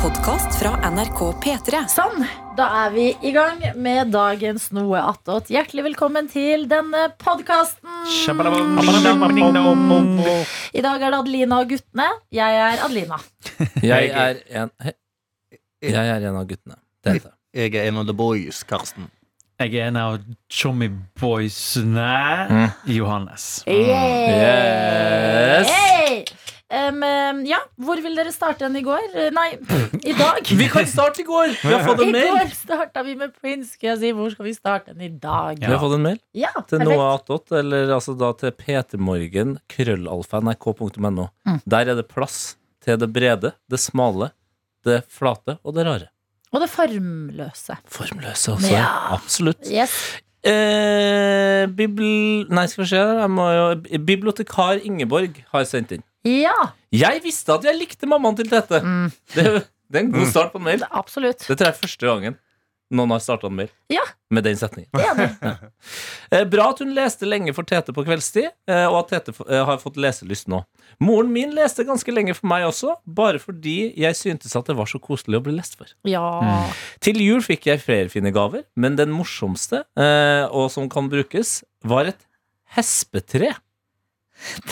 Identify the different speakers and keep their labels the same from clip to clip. Speaker 1: podkast fra NRK P3.
Speaker 2: Sånn, da er vi i gang med dagens Noe attåt. Hjertelig velkommen til denne podkasten. I dag er det Adelina og guttene. Jeg er Adelina.
Speaker 3: Jeg er en Hei. Jeg er en av guttene. Det heter jeg.
Speaker 4: Jeg er en av the boys, Karsten.
Speaker 5: Jeg er en av Tjommi Boysene. Johannes.
Speaker 3: Yes.
Speaker 2: Hey! Em, em, ja, hvor vil dere starte den i går? Eh, Nei, i dag.
Speaker 3: Vi kan starte i går! Vi har fått
Speaker 2: I
Speaker 3: en mail.
Speaker 2: går starta vi med Prince. Skal jeg si, hvor skal vi starte den i dag?
Speaker 3: Vi har fått en mail
Speaker 2: Ja,
Speaker 3: til
Speaker 2: perfekt.
Speaker 3: Noah Attåt, eller altså da til ptmorgen, krøllalfa, nrk.no.
Speaker 2: Mm.
Speaker 3: Der er det plass til det brede, det smale, det flate og det rare.
Speaker 2: Og det formløse.
Speaker 3: Formløse også.
Speaker 2: Ja.
Speaker 3: Absolutt.
Speaker 2: Yes.
Speaker 3: Eh, bibl... Nei, skal vi se. Jeg må jo... Bibliotekar Ingeborg har sendt inn.
Speaker 2: Ja,
Speaker 3: Jeg visste at jeg likte mammaen til Tete.
Speaker 2: Mm.
Speaker 3: Det, det er en god start på en mail.
Speaker 2: absolutt.
Speaker 3: Det tror jeg er første gangen noen har starta en mail
Speaker 2: Ja.
Speaker 3: med den setningen.
Speaker 2: Det er det.
Speaker 3: Eh, bra at hun leste lenge for Tete på kveldstid, eh, og at Tete f- eh, har fått leselyst nå. Moren min leste ganske lenge for meg også, bare fordi jeg syntes at det var så koselig å bli lest for. Mm.
Speaker 2: Ja.
Speaker 3: Til jul fikk jeg flere fine gaver, men den morsomste, eh, og som kan brukes, var et hespetre.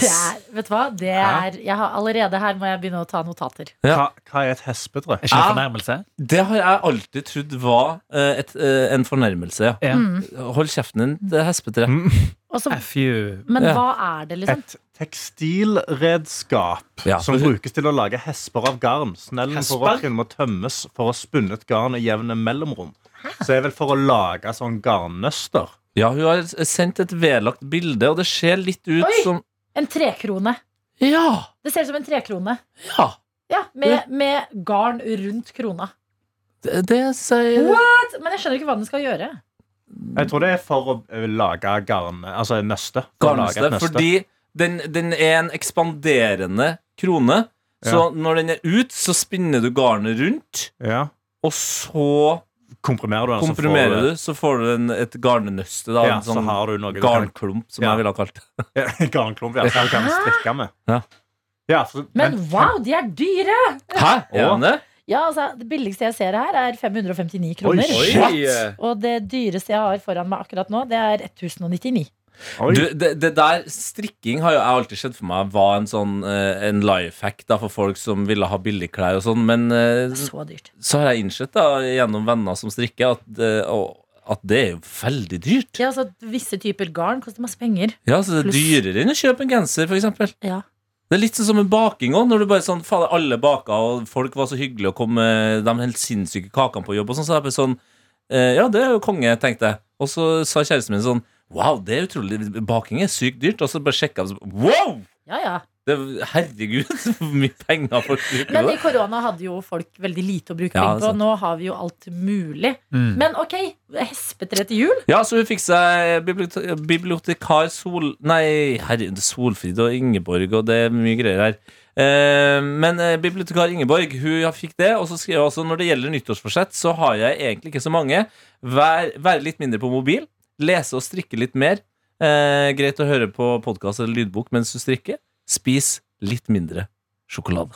Speaker 2: Det er, vet du hva? Det
Speaker 4: Hæ?
Speaker 2: er, jeg har, allerede her må jeg begynne å ta notater.
Speaker 4: Hva, hva er et hespetre?
Speaker 5: Er ikke det en fornærmelse?
Speaker 3: Det har jeg alltid trodd var eh, et, eh, en fornærmelse. ja.
Speaker 5: Ja.
Speaker 2: Mm.
Speaker 3: Hold kjeften din, det er hespetre.
Speaker 2: Og så-
Speaker 5: F you.
Speaker 2: men
Speaker 3: Ja.
Speaker 2: hva er det, liksom?
Speaker 4: Et tekstilredskap
Speaker 3: Ja,
Speaker 4: som
Speaker 3: for-
Speaker 4: brukes til å lage hesper av garn. Snellen på
Speaker 5: Hesper?
Speaker 4: rocken må tømmes for å spunne et garn i jevne mellomrom. Så er vel for å lage sånn garnnøster.
Speaker 3: Ja, hun har sendt et vedlagt bilde, og det ser litt ut
Speaker 2: Oi!
Speaker 3: som
Speaker 2: En trekrone.
Speaker 3: Ja!
Speaker 2: Det ser ut som en trekrone.
Speaker 3: Ja!
Speaker 2: Ja, med, med garn rundt krona.
Speaker 3: Det, det sier
Speaker 2: What? Men jeg skjønner ikke hva den skal gjøre.
Speaker 4: Jeg tror det er for å eh, lage garn... Altså nøste. For å lage
Speaker 3: garnnøste.
Speaker 4: et nøste.
Speaker 3: Fordi den, den er en ekspanderende krone. Så når den er ut, så spinner du garnet rundt,
Speaker 4: Ja.
Speaker 3: og så
Speaker 4: Komprimerer du den, så får
Speaker 3: komprimerer du, så får du en, et garnnøste. Da,
Speaker 4: Ja,
Speaker 3: en
Speaker 4: så
Speaker 3: sånn
Speaker 4: har du noe du kan-
Speaker 3: garnklump, som
Speaker 4: Ja.
Speaker 3: jeg ville ha kalt det.
Speaker 4: Ja, Garnklump, ja. Som du kan strikke med.
Speaker 3: Ja.
Speaker 4: Ja, for,
Speaker 2: Men wow, de er dyre!
Speaker 3: Hæ? Er
Speaker 4: Å.
Speaker 3: den det?
Speaker 2: Ja, altså, Det billigste jeg ser her, er 559 kroner.
Speaker 4: Oi, shit!
Speaker 2: Og det dyreste jeg har foran meg akkurat nå, det er 1099.
Speaker 4: Oi.
Speaker 3: Du, det, det der strikking har jo jeg alltid sett for meg var en sånn eh, En life hack da, for folk som ville ha billigklær og sånn, men eh,
Speaker 2: Så dyrt.
Speaker 3: så har jeg innsett da, gjennom venner som strikker, at, eh, og- at det er jo veldig dyrt.
Speaker 2: Ja, altså, Visse typer garn koster masse penger.
Speaker 3: Ja, så Det
Speaker 2: Pluss-
Speaker 3: er dyrere enn å kjøpe en genser, for eksempel
Speaker 2: Ja.
Speaker 3: Det er litt sånn som med baking òg. Når du bare sånn, fader, alle baka, og folk var så hyggelige og kom med de helt sinnssyke kakene på jobb, og sånn, så er det bare sånn eh, Ja, det er jo konge, tenkte jeg. Og så sa kjæresten min sånn Wow, det er utrolig. Baking er sykt dyrt. Og så bare sjekka jeg, og så Wow!
Speaker 2: Ja, ja.
Speaker 3: Det, herregud, hvor mye penger folk bruker på
Speaker 2: Men i
Speaker 3: det.
Speaker 2: korona hadde jo folk veldig lite å bruke
Speaker 3: Ja,
Speaker 2: penger
Speaker 3: det er
Speaker 2: på.
Speaker 3: sant.
Speaker 2: Nå har vi jo alt mulig.
Speaker 5: Mm.
Speaker 2: Men ok, hespetre til jul?
Speaker 3: Ja, så hun fikk seg bibliot- bibliotekar Sol... Nei, herregud, Solfrid og Ingeborg, og det er mye greier her. Eh, Men eh, bibliotekar Ingeborg hun fikk det, og så skrev hun også når det gjelder nyttårsforsett, så har jeg egentlig ikke så mange. Vær, være litt mindre på mobil, lese og strikke litt mer. Eh, greit å høre på podkast eller lydbok mens du strikker. Spis litt mindre sjokolade.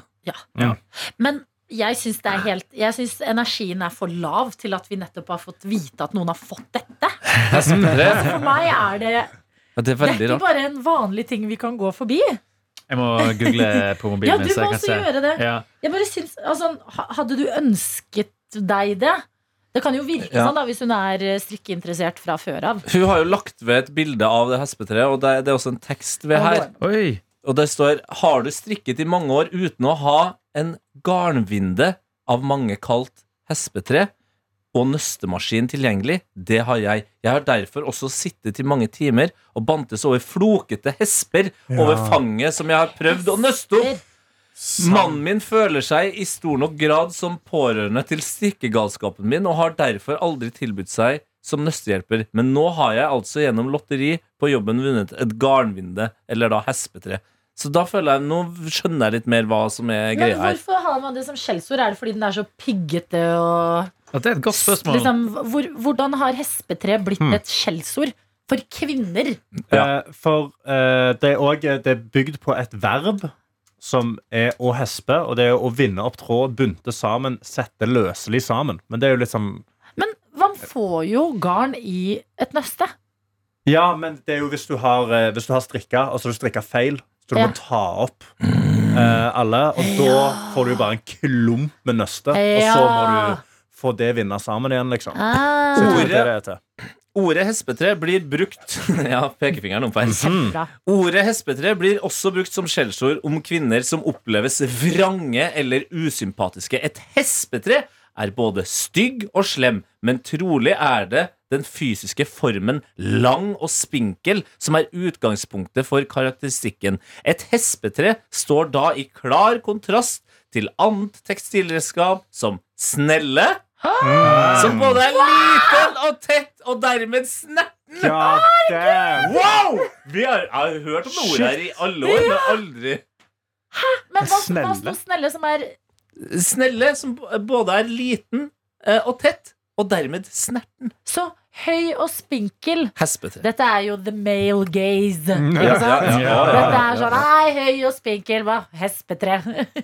Speaker 2: Men jeg syns, det er helt, jeg syns energien er for lav til at vi nettopp har fått vite at noen har fått dette. Altså,
Speaker 3: Ja,
Speaker 2: For meg er det,
Speaker 3: Det er
Speaker 2: det er
Speaker 3: veldig
Speaker 2: ikke
Speaker 3: rart.
Speaker 2: bare en vanlig ting vi kan gå forbi.
Speaker 5: Jeg må google på
Speaker 2: Ja,
Speaker 5: mobilen
Speaker 2: du
Speaker 5: min. så
Speaker 2: må
Speaker 5: jeg kan
Speaker 2: også
Speaker 5: se.
Speaker 2: gjøre det.
Speaker 5: Ja.
Speaker 2: Jeg bare syns, altså, ha- hadde du ønsket deg det? Det kan jo virke
Speaker 3: Ja.
Speaker 2: sånn da, hvis hun er eh, strikkeinteressert fra før av.
Speaker 3: Hun har jo lagt ved et bilde av det hespetreet, og det, det er også en tekst ved her.
Speaker 5: Oi.
Speaker 3: Og det står Har du strikket i mange år uten å ha en garnvinde av mange kalt hespetre og nøstemaskin tilgjengelig? Det har jeg. Jeg har derfor også sittet i mange timer og bantes over flokete hesper over fanget som jeg har prøvd å nøste opp. Mannen min føler seg i stor nok grad som pårørende til strikkegalskapen min og har derfor aldri tilbudt seg som nøstehjelper. Men nå har jeg altså gjennom lotteri på jobben vunnet et garnvinde, eller da hespetre. Så da føler jeg, nå skjønner jeg litt mer hva som er
Speaker 2: Men
Speaker 3: greia her.
Speaker 2: hvorfor har man det som skjellsord? Er det fordi den er så piggete og
Speaker 5: Ja, det er et godt spørsmål.
Speaker 2: Liksom, hvor, hvordan har hespetre blitt et skjellsord for kvinner?
Speaker 3: Ja.
Speaker 4: Eh, For eh, det er òg det er bygd på et verb som er å hespe, og det er å vinde opp tråd, bunte sammen, sette løselig sammen. Men det er jo litt sånn
Speaker 2: Men man får jo garn i et nøste.
Speaker 4: Ja, men det er jo hvis du har, eh, hvis du har strikka, og så har du strikka feil, så du
Speaker 2: Ja.
Speaker 4: må ta opp eh, alle, og da får du jo bare en klump med nøste, og så må
Speaker 2: Ja.
Speaker 4: du få det vinne sammen igjen, liksom.
Speaker 2: Ah,
Speaker 4: Så jeg tror det er det det heter.
Speaker 3: Ordet hespetre blir brukt Ja, pekefingeren om på helse.
Speaker 2: bra.
Speaker 3: Ordet hespetre blir også brukt som skjellsord om kvinner som oppleves vrange eller usympatiske. Et hespetre er både stygg og slem, men trolig er det den fysiske formen lang og spinkel som er utgangspunktet for karakteristikken. Et hespetre står da i klar kontrast til annet tekstilredskap som snelle, som både er liten og tett og dermed snerten.
Speaker 4: Ja, damn!
Speaker 3: Wow! Vi har, jeg har hørt om det ordet her i alle år, men aldri
Speaker 2: Men hva, hva
Speaker 4: Snelle.
Speaker 2: står snelle som er
Speaker 3: Snelle, som b- både er liten eh, og tett, og dermed snerten.
Speaker 2: så høy og spinkel?
Speaker 3: Hespete.
Speaker 2: Dette er jo the male gaze. Ikke
Speaker 4: Ja,
Speaker 2: sant?
Speaker 4: ja, ja, ja,
Speaker 2: Dette
Speaker 4: ja,
Speaker 2: er sånn Nei, høy og spinkel, hva? Hespetre.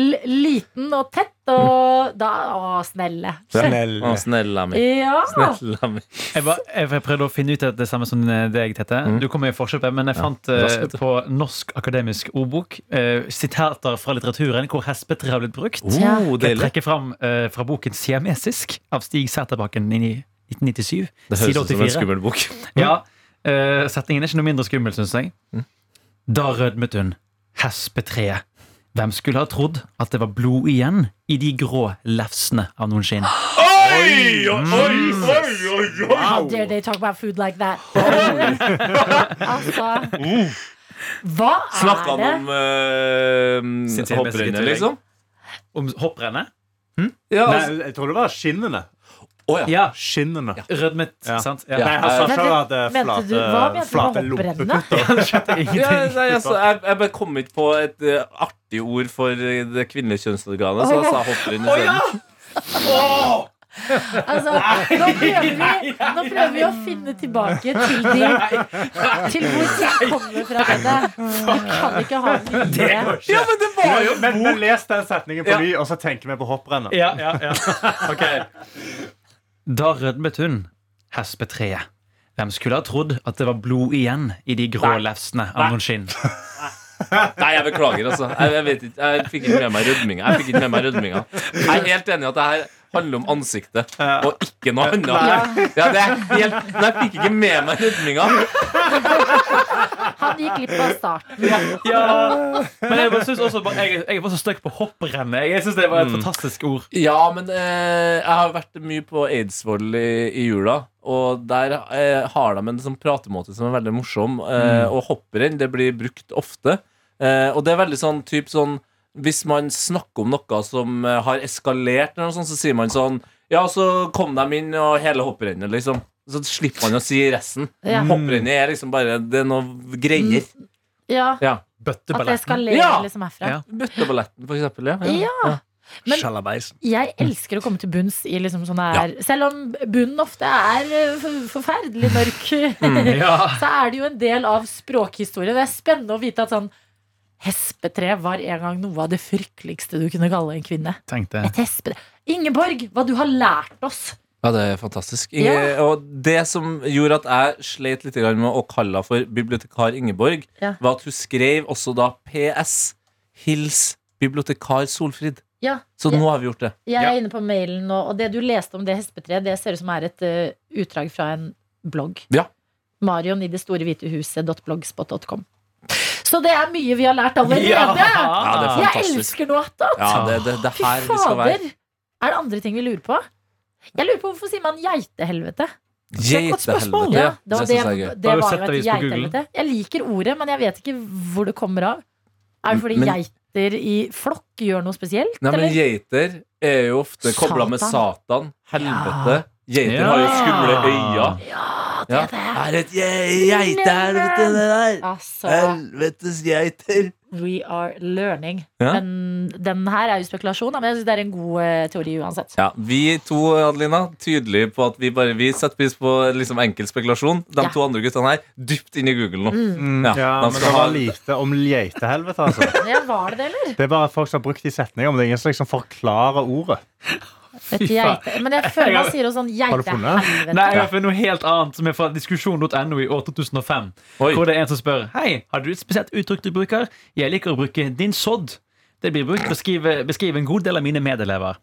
Speaker 2: L liten og tett og da Å, snelle.
Speaker 3: Å, snella mi.
Speaker 2: Ja.
Speaker 3: Snella mi.
Speaker 5: Jeg, var, jeg prøvde å finne ut det samme som det jeg heter.
Speaker 3: Mm.
Speaker 5: Du kom med forskjell på det, men jeg fant eh,
Speaker 3: raskt, vet du.
Speaker 5: på Norsk akademisk ordbok eh, sitater fra litteraturen hvor hespetre har blitt brukt.
Speaker 3: Oh,
Speaker 5: Jeg
Speaker 3: deilig.
Speaker 5: trekker fram eh, fra boken 'Siamesisk' av Stig Sæterbakken i 1997.
Speaker 3: Det høres
Speaker 5: side
Speaker 3: ut som en
Speaker 5: 84.
Speaker 3: skummel bok.
Speaker 5: Ja, eh, Setningen er ikke noe mindre skummel, syns jeg. Da rødmet hun. Hespetreet. Hvem skulle ha trodd at det var blod igjen i de grå lefsene av noen skinn?
Speaker 3: Oi, oi, oi, oi, oi.
Speaker 2: How dare they talk about food like that? altså Hva
Speaker 3: Snakka
Speaker 2: er det?
Speaker 3: han om uh,
Speaker 5: Sinnssykt
Speaker 3: hopprennet,
Speaker 5: beskritt,
Speaker 3: liksom?
Speaker 5: Om hopprennet?
Speaker 3: Ja,
Speaker 4: Nei,
Speaker 3: altså.
Speaker 4: jeg tror det var skinnene.
Speaker 3: Å, ja.
Speaker 5: Ja.
Speaker 4: Skinnene.
Speaker 5: Rødmet,
Speaker 4: Ja.
Speaker 5: sant?
Speaker 3: Ja.
Speaker 4: Nei, han sa
Speaker 2: Men-
Speaker 4: ikke at det er
Speaker 2: Mente du, hva mente
Speaker 4: eh, flate,
Speaker 2: du
Speaker 4: flate
Speaker 2: med hopprennet?
Speaker 4: lompeputter.
Speaker 3: Ja, nei, altså, jeg, jeg bare kom ikke på et eh, artig ord for eh, det kvinnelige kjønnsorganet, så jeg sa hopprenn isteden.
Speaker 2: Altså, nå, prøver vi, nå prøver vi å finne tilbake til, de, til hvor ting kommer fra dette. Vi kan ikke ha den videre.
Speaker 3: Ja, men det var jo
Speaker 4: Men, men les den setningen på
Speaker 3: Ja.
Speaker 4: ny, og så tenker vi på hopprennet.
Speaker 5: Ja, ja, ja. Da rødmet hun hespetreet. Hvem skulle ha trodd at det var blod igjen i de grå lefsene av noen skinn?
Speaker 3: Nei, jeg beklager, altså. Jeg, jeg, vet ikke, jeg fikk ikke med meg rødminga. Jeg fikk ikke med meg rødminga Jeg er helt enig i at det her handler om ansiktet og ikke noe annet. Ja, det er helt, men jeg fikk ikke med meg rødminga.
Speaker 2: Han gikk glipp av starten.
Speaker 5: Ja. Men jeg bare synes også bare- jeg, jeg var så støkk på hopprennet. Jeg synes det var et fantastisk ord.
Speaker 3: Ja, men eh, jeg har vært mye på Eidsvoll i, i jula. Og der eh, har de en sånn pratemåte som er veldig morsom. Eh, Og hopprenn, det blir brukt ofte. Eh, og det er veldig sånn typ sånn Hvis man snakker om noe som eh, har eskalert, eller noe sånt, så sier man sånn Ja, så kom de inn, og hele hopprennet, liksom. Så slipper man å si resten.
Speaker 2: Ja.
Speaker 3: Hopprennet er liksom bare Det er noe greier.
Speaker 2: Ja,
Speaker 3: Ja.
Speaker 2: at det skal
Speaker 5: Bøtteballetten.
Speaker 2: le
Speaker 3: Ja.
Speaker 2: liksom herfra.
Speaker 5: Ja.
Speaker 3: Bøtteballetten, for eksempel. Ja.
Speaker 2: Ja. Men-
Speaker 4: Sjalabais.
Speaker 2: Jeg elsker å komme til bunns i liksom sånne her Selv om bunnen ofte er eh, for- forferdelig mørk,
Speaker 5: Ja.
Speaker 2: så er det jo en del av språkhistorien. Det er spennende å vite at sånn Hespetre var en gang noe av det frykteligste du kunne kalle en kvinne.
Speaker 5: Tenkte jeg.
Speaker 2: Et hespetre. Ingeborg, hva du har lært oss!
Speaker 3: Ja, det er fantastisk. Inge, Og det som gjorde at jeg sleit litt grann med å kalle henne for bibliotekar Ingeborg,
Speaker 2: Ja.
Speaker 3: var at hun skrev også da PS. Hils bibliotekar Solfrid.
Speaker 2: Ja,
Speaker 3: Så
Speaker 2: Ja.
Speaker 3: nå har vi gjort det.
Speaker 2: Jeg
Speaker 5: Ja.
Speaker 2: er inne på mailen nå, og det du leste om det hespetreet, det ser ut som er et eh, utdrag fra en blogg.
Speaker 3: Ja.
Speaker 2: Marion i det store hvite huset.blogspot.com. Så det er mye vi har lært allerede!
Speaker 3: det er
Speaker 2: Jeg
Speaker 3: fantastisk.
Speaker 2: elsker noe attåt!
Speaker 3: Ja, det, det, det er
Speaker 2: Fy
Speaker 3: her vi skal
Speaker 2: fader!
Speaker 3: være.
Speaker 2: Er det andre ting vi lurer på? Jeg lurer på Hvorfor sier man geitehelvete?
Speaker 3: Geitehelvete.
Speaker 2: Ja, det, var
Speaker 3: det
Speaker 2: det,
Speaker 3: syns jeg er gøy.
Speaker 2: det
Speaker 5: Har du
Speaker 2: var
Speaker 5: sett
Speaker 2: jo et
Speaker 5: avis på Google?
Speaker 2: geitehelvete. Jeg liker ordet, men jeg vet ikke hvor det kommer av. Er det fordi
Speaker 3: Men-
Speaker 2: geiter i flokk gjør noe spesielt?
Speaker 3: Nei, men
Speaker 2: eller?
Speaker 3: geiter er jo ofte kobla med Satan. Helvete. Geiter har jo skumle øyne.
Speaker 2: Ja, det
Speaker 3: Ja.
Speaker 2: er det!
Speaker 3: Er et ge- geitehelvete, det der.
Speaker 2: Altså,
Speaker 3: Helvetes geiter.
Speaker 2: We are learning.
Speaker 3: Ja.
Speaker 2: Men den her er jo spekulasjon, da, men jeg synes det er en god eh, teori uansett.
Speaker 3: Ja, Vi to Adelina, tydelige på at vi bare vi setter pris på liksom enkel spekulasjon. De
Speaker 2: Ja.
Speaker 3: to andre guttene her dypt inn i Google nå.
Speaker 4: Mm,
Speaker 3: Ja,
Speaker 4: ja,
Speaker 3: man
Speaker 4: men
Speaker 3: skal
Speaker 4: det
Speaker 3: ha-
Speaker 4: var lite om geitehelvete, altså.
Speaker 2: Ja, var det det, eller?
Speaker 4: Det er bare folk som har brukt de setningene, men det er ingen som liksom forklarer ordet.
Speaker 2: Et
Speaker 5: faen.
Speaker 2: geite. Men jeg føler man sier noe sånn
Speaker 4: Har du funnet?
Speaker 5: Nei, jeg
Speaker 2: geitehelvete.
Speaker 5: har funnet noe helt annet som er fra diskusjon.no i år 2005.
Speaker 3: Oi.
Speaker 5: Hvor det er en som spør Hei, har du et spesielt uttrykk du bruker? Jeg liker å bruke din sodd. Det blir brukt til å skrive- beskrive en god del av mine medelever.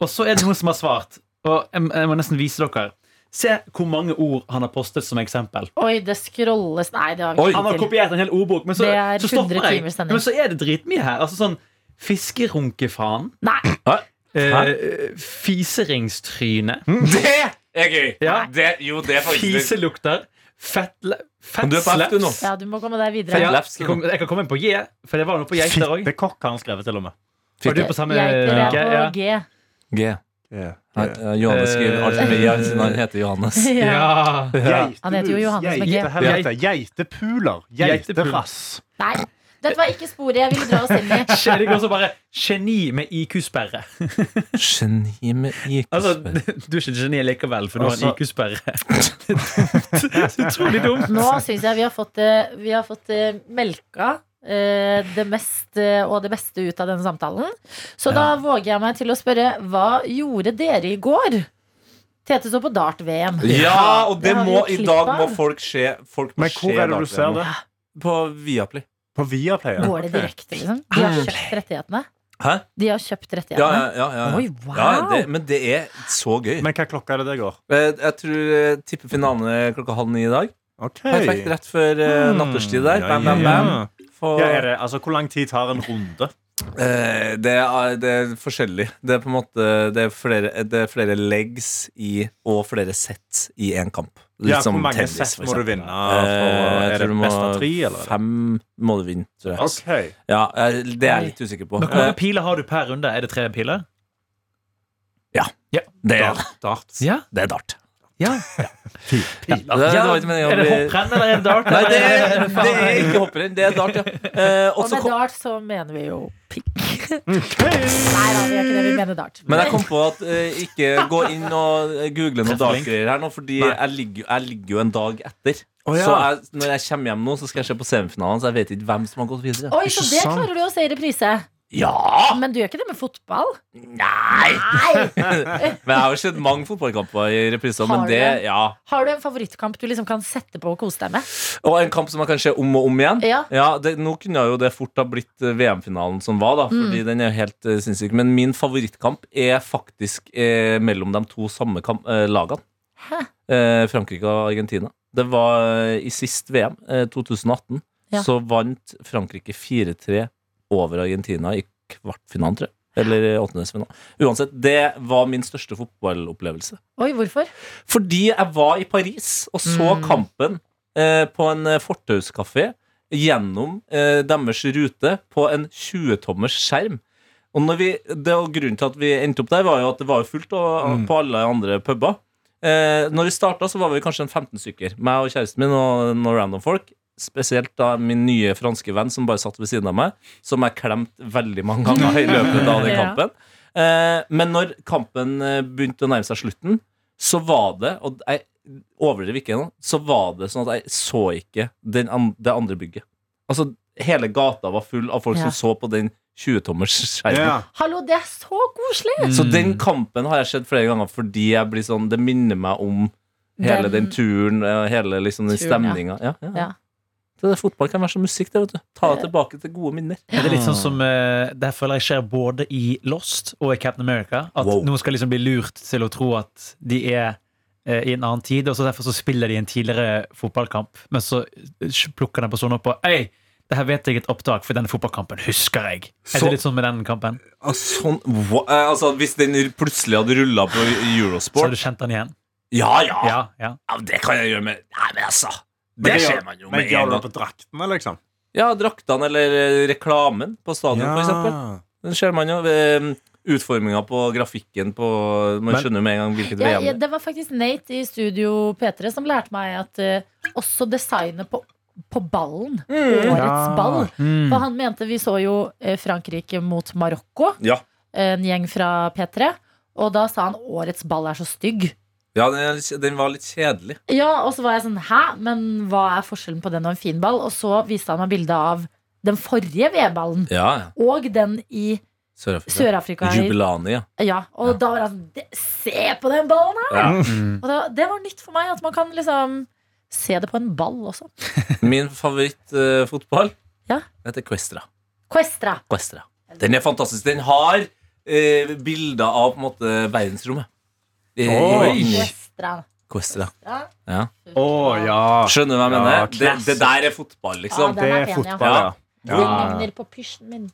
Speaker 5: Og så er det noen som har svart, og jeg, jeg må nesten vise dere. Se hvor mange ord han har postet som eksempel.
Speaker 2: Oi, det scrolles Nei, det har
Speaker 3: Oi.
Speaker 2: vi
Speaker 5: Han har
Speaker 2: ikke tid til.
Speaker 5: kopiert en hel ordbok, men så,
Speaker 2: Det er
Speaker 5: så stopper
Speaker 2: 100
Speaker 5: jeg.
Speaker 2: timers sending.
Speaker 5: Men så er det dritmye her. Altså sånn Fiskerunkefaen.
Speaker 2: Nei,
Speaker 5: Eh, fiseringstryne.
Speaker 3: Det er gøy!
Speaker 5: Ja.
Speaker 3: Det, jo, det er faktisk
Speaker 5: Fiselukter. Fettle,
Speaker 3: Men du er på F, du nå.
Speaker 5: fettslaps.
Speaker 2: ja, du må komme deg
Speaker 5: Ja,
Speaker 2: videre.
Speaker 3: Fettle.
Speaker 5: jeg,
Speaker 3: Fettlefs.
Speaker 5: kom, jeg kan komme inn på J, for det var noe på geiter òg.
Speaker 4: Fittekokk har han skrevet, til og med.
Speaker 5: Var du på samme
Speaker 2: Geiter
Speaker 5: linke?
Speaker 2: er
Speaker 5: Ja.
Speaker 2: på G.
Speaker 3: G. Nei, eh, Johannes skriver alt med J, siden han heter Johannes.
Speaker 2: Ja.
Speaker 5: Ja.
Speaker 2: Han heter jo Johannes med G.
Speaker 4: Geitehelvete. Geitepuler. Geiterass.
Speaker 2: Nei, dette var ikke sporet jeg ville dra oss inn i.
Speaker 5: Skje- Det går så bare geni med IQ-sperre.
Speaker 3: Geni med IQ.
Speaker 5: Altså, du er ikke et geni likevel, for du har en
Speaker 4: Altså-
Speaker 5: IQ-sperre. Det er dumt. Så utrolig dumt.
Speaker 2: Nå syns jeg vi har fått, eh, vi har fått eh, melka eh, det mest eh, og det beste ut av denne samtalen. Så da våger jeg meg til å spørre hva gjorde dere i går? Tete så på dart-VM.
Speaker 3: Ja, og det
Speaker 2: Det har vi
Speaker 3: må
Speaker 2: jo
Speaker 3: i
Speaker 2: klipp
Speaker 3: dag
Speaker 2: av.
Speaker 3: må folk se folk må
Speaker 4: Men hvor
Speaker 3: se
Speaker 4: er det du
Speaker 3: Dark
Speaker 4: ser
Speaker 3: Web.
Speaker 4: det?
Speaker 3: På Viaplay.
Speaker 4: På Viaplay? ja.
Speaker 2: Går det direkte, liksom? De har kjøpt rettighetene.
Speaker 3: Hæ?
Speaker 2: De har kjøpt
Speaker 3: Ja,
Speaker 2: rettighetene.
Speaker 3: ja, ja. ja.
Speaker 2: Oi, wow!
Speaker 3: ja det, men det er så gøy.
Speaker 4: Men hva klokka er det det går?
Speaker 3: Eh, jeg tror eh, tipper finalen er klokka halv ni i dag.
Speaker 4: Ok
Speaker 3: Perfekt rett før eh,
Speaker 4: Mm.
Speaker 3: natterstid der. Bam, bam,
Speaker 4: Ja,
Speaker 3: bam.
Speaker 4: ja.
Speaker 3: For,
Speaker 4: Ja, er det, altså, hvor lang tid tar en runde?
Speaker 3: eh, det, er, det er forskjellig. Det er på en måte Det er flere, det er flere legs i og flere sett i én kamp.
Speaker 4: Ja,
Speaker 3: Litt som
Speaker 4: hvor mange
Speaker 3: tennis,
Speaker 4: sett
Speaker 3: for
Speaker 4: må du
Speaker 3: eksempel.
Speaker 4: vinne?
Speaker 3: Eh,
Speaker 4: For,
Speaker 3: jeg
Speaker 4: er
Speaker 3: tror
Speaker 4: det
Speaker 3: du må-
Speaker 4: best av tre, eller?
Speaker 3: Fem må du vinne, tror jeg.
Speaker 4: Ok
Speaker 3: Ja, eh, det er jeg litt usikker på.
Speaker 5: Men Hvor mange
Speaker 3: Eh,
Speaker 5: piler har du per runde? Er det tre piler?
Speaker 3: Det er,
Speaker 4: Dart, dart.
Speaker 5: Ja.
Speaker 3: det er dart.
Speaker 5: ja.
Speaker 3: Det, det var ikke meningen å
Speaker 5: Er det
Speaker 3: bli-
Speaker 5: hopprenn eller er det dart?
Speaker 3: Nei, det er, det er ikke hopprenn. Det er dart, ja. Eh, og
Speaker 2: Og
Speaker 3: så
Speaker 2: med
Speaker 3: kom, Mm.
Speaker 2: dart så mener vi jo pikk. Nei da, vi gjør ikke det. Vi mener dart.
Speaker 3: men jeg kom på at eh, ikke gå inn og eh, google noen
Speaker 5: Treffelink.
Speaker 3: dartgreier her nå, fordi
Speaker 5: Nei.
Speaker 3: jeg ligger, jo- jeg ligger jo en dag etter.
Speaker 4: Å, ja.
Speaker 3: Så jeg, når jeg kommer hjem nå, så skal jeg se på semifinalen, så jeg vet ikke hvem som har gått videre.
Speaker 2: Oi, så det klarer du å se i reprise.
Speaker 3: Ja!
Speaker 2: Men du gjør ikke det med fotball?
Speaker 3: Ah. Nei! men jeg har jo sett mange fotballkamper i repriser,
Speaker 2: Har
Speaker 3: men
Speaker 2: du?
Speaker 3: det, ja.
Speaker 2: Har du en favorittkamp du liksom kan sette på og kose deg med?
Speaker 3: Og en kamp som jeg kan se om og om igjen.
Speaker 2: Ja.
Speaker 3: det, Nå kunne jo det fort ha blitt eh, VM-finalen som
Speaker 2: Mm.
Speaker 3: var, da, fordi den er jo helt eh, sinnssyk. Men min favorittkamp er faktisk eh, mellom de to samme kamp, eh, lagene. Eh, Frankrike og Argentina. Det var eh, i sist VM, eh, 2018,
Speaker 2: Ja.
Speaker 3: så vant Frankrike 4-3 over Argentina i kvartfinalen, tror jeg. Eller i åttendedelsfinalen. Uansett, det var min største fotballopplevelse.
Speaker 2: Oi, hvorfor?
Speaker 3: Fordi jeg var i Paris og så
Speaker 2: Mm.
Speaker 3: kampen eh, på en eh, fortauskafé gjennom eh, deres rute på en 20-tommers skjerm. Og når vi, det var grunnen til at vi endte opp der, var jo at det var jo fullt og,
Speaker 4: Mm.
Speaker 3: på alle andre puber. Eh, når vi starta, så var vi kanskje en 15 stykker. Meg og kjæresten min og noen random folk. Spesielt da min nye franske venn som bare satt ved siden av meg, som jeg klemte veldig mange ganger i løpet av den
Speaker 2: Ja.
Speaker 3: kampen. Eh, men når kampen eh, begynte å nærme seg slutten, så var det Og jeg overdriver ikke nå, så var det sånn at jeg så ikke den, an- det andre bygget. Altså, hele gata var full av folk
Speaker 2: Ja.
Speaker 3: som så på den 20-tommers skjermen.
Speaker 4: Ja.
Speaker 2: Hallo, det er så koselig!
Speaker 5: Mm.
Speaker 3: Så den kampen har jeg sett flere ganger fordi jeg blir sånn, det minner meg om hele den,
Speaker 2: Den-
Speaker 3: turen og hele liksom den
Speaker 2: Turen, ja.
Speaker 3: stemninga. Ja. Ja,
Speaker 2: Ja. Eh.
Speaker 3: Så det, fotball kan være som musikk, det, vet du. Ta det tilbake til gode minner.
Speaker 5: Det er litt sånn som eh, Det her føler jeg skjer både i Lost og i Captain America. At
Speaker 3: Wow.
Speaker 5: noen skal liksom bli lurt til å tro at de er eh, i en annen tid, og så derfor så spiller de en tidligere fotballkamp. Men så eh, plukker den personen opp og Ei, det her vet jeg er et opptak, for denne fotballkampen husker jeg. Er
Speaker 3: Så-
Speaker 5: det litt sånn med den kampen?
Speaker 3: Sånn, hva- eh, altså, hvis den plutselig hadde rulla på
Speaker 5: Så har
Speaker 3: Eurosport
Speaker 5: du kjent den igjen?
Speaker 3: Ja, ja,
Speaker 5: Ja, ja.
Speaker 3: Ja, Det kan jeg gjøre med Nei, men altså.
Speaker 4: Men
Speaker 3: Det
Speaker 4: det
Speaker 3: ser
Speaker 4: gjør-
Speaker 3: man jo
Speaker 4: Men
Speaker 3: med
Speaker 4: gjør
Speaker 3: en
Speaker 4: du det
Speaker 3: gang.
Speaker 4: på draktene, liksom?
Speaker 3: Ja, draktene eller eh, reklamen på stadion, for eksempel. Den ser man jo ved eh, utforminga på grafikken på Man
Speaker 4: Men-
Speaker 3: skjønner jo med en gang hvilket
Speaker 2: Ja,
Speaker 3: VM
Speaker 2: ja,
Speaker 3: det er.
Speaker 2: det var faktisk Nate i Studio P3 som lærte meg at eh, også designet på på ballen.
Speaker 3: Mm.
Speaker 2: Årets
Speaker 4: Ja.
Speaker 2: ball.
Speaker 5: Mm.
Speaker 2: For han mente Vi så jo eh, Frankrike mot Marokko.
Speaker 3: Ja.
Speaker 2: En gjeng fra P3. Og da sa han 'Årets ball er så stygg'.
Speaker 3: Ja, den, er litt- den var litt kjedelig.
Speaker 2: Ja, og så var jeg sånn Hæ, men hva er forskjellen på den og en fin ball? Og så viste han meg bilde av den forrige VM-ballen
Speaker 3: Ja, ja.
Speaker 2: og den i
Speaker 3: Sør-Afrika.
Speaker 2: Sør-Afrika.
Speaker 3: Jubilani, ja.
Speaker 2: Ja, og da var han sånn Se på den ballen her!
Speaker 3: ja.
Speaker 5: Mm.
Speaker 2: Og da, det var nytt for meg at man kan liksom se det på en ball også.
Speaker 3: Min favorittfotball
Speaker 2: Ja.
Speaker 3: heter Questra.
Speaker 2: Questra.
Speaker 3: Questra. Den er fantastisk. Den har eh, bilder av på en måte verdensrommet. Eh,
Speaker 4: Oi!
Speaker 3: inni
Speaker 2: Questra.
Speaker 3: Questra.
Speaker 2: Ja.
Speaker 3: Ja.
Speaker 4: Å ja.
Speaker 3: Skjønner du hva jeg
Speaker 4: Ja,
Speaker 3: mener? det,
Speaker 4: klassisk.
Speaker 3: det der er fotball, liksom.
Speaker 2: Ja,
Speaker 4: Det
Speaker 2: Den er
Speaker 4: er
Speaker 2: pen,
Speaker 4: fotball, ja.
Speaker 2: Det ligner på pysjen min.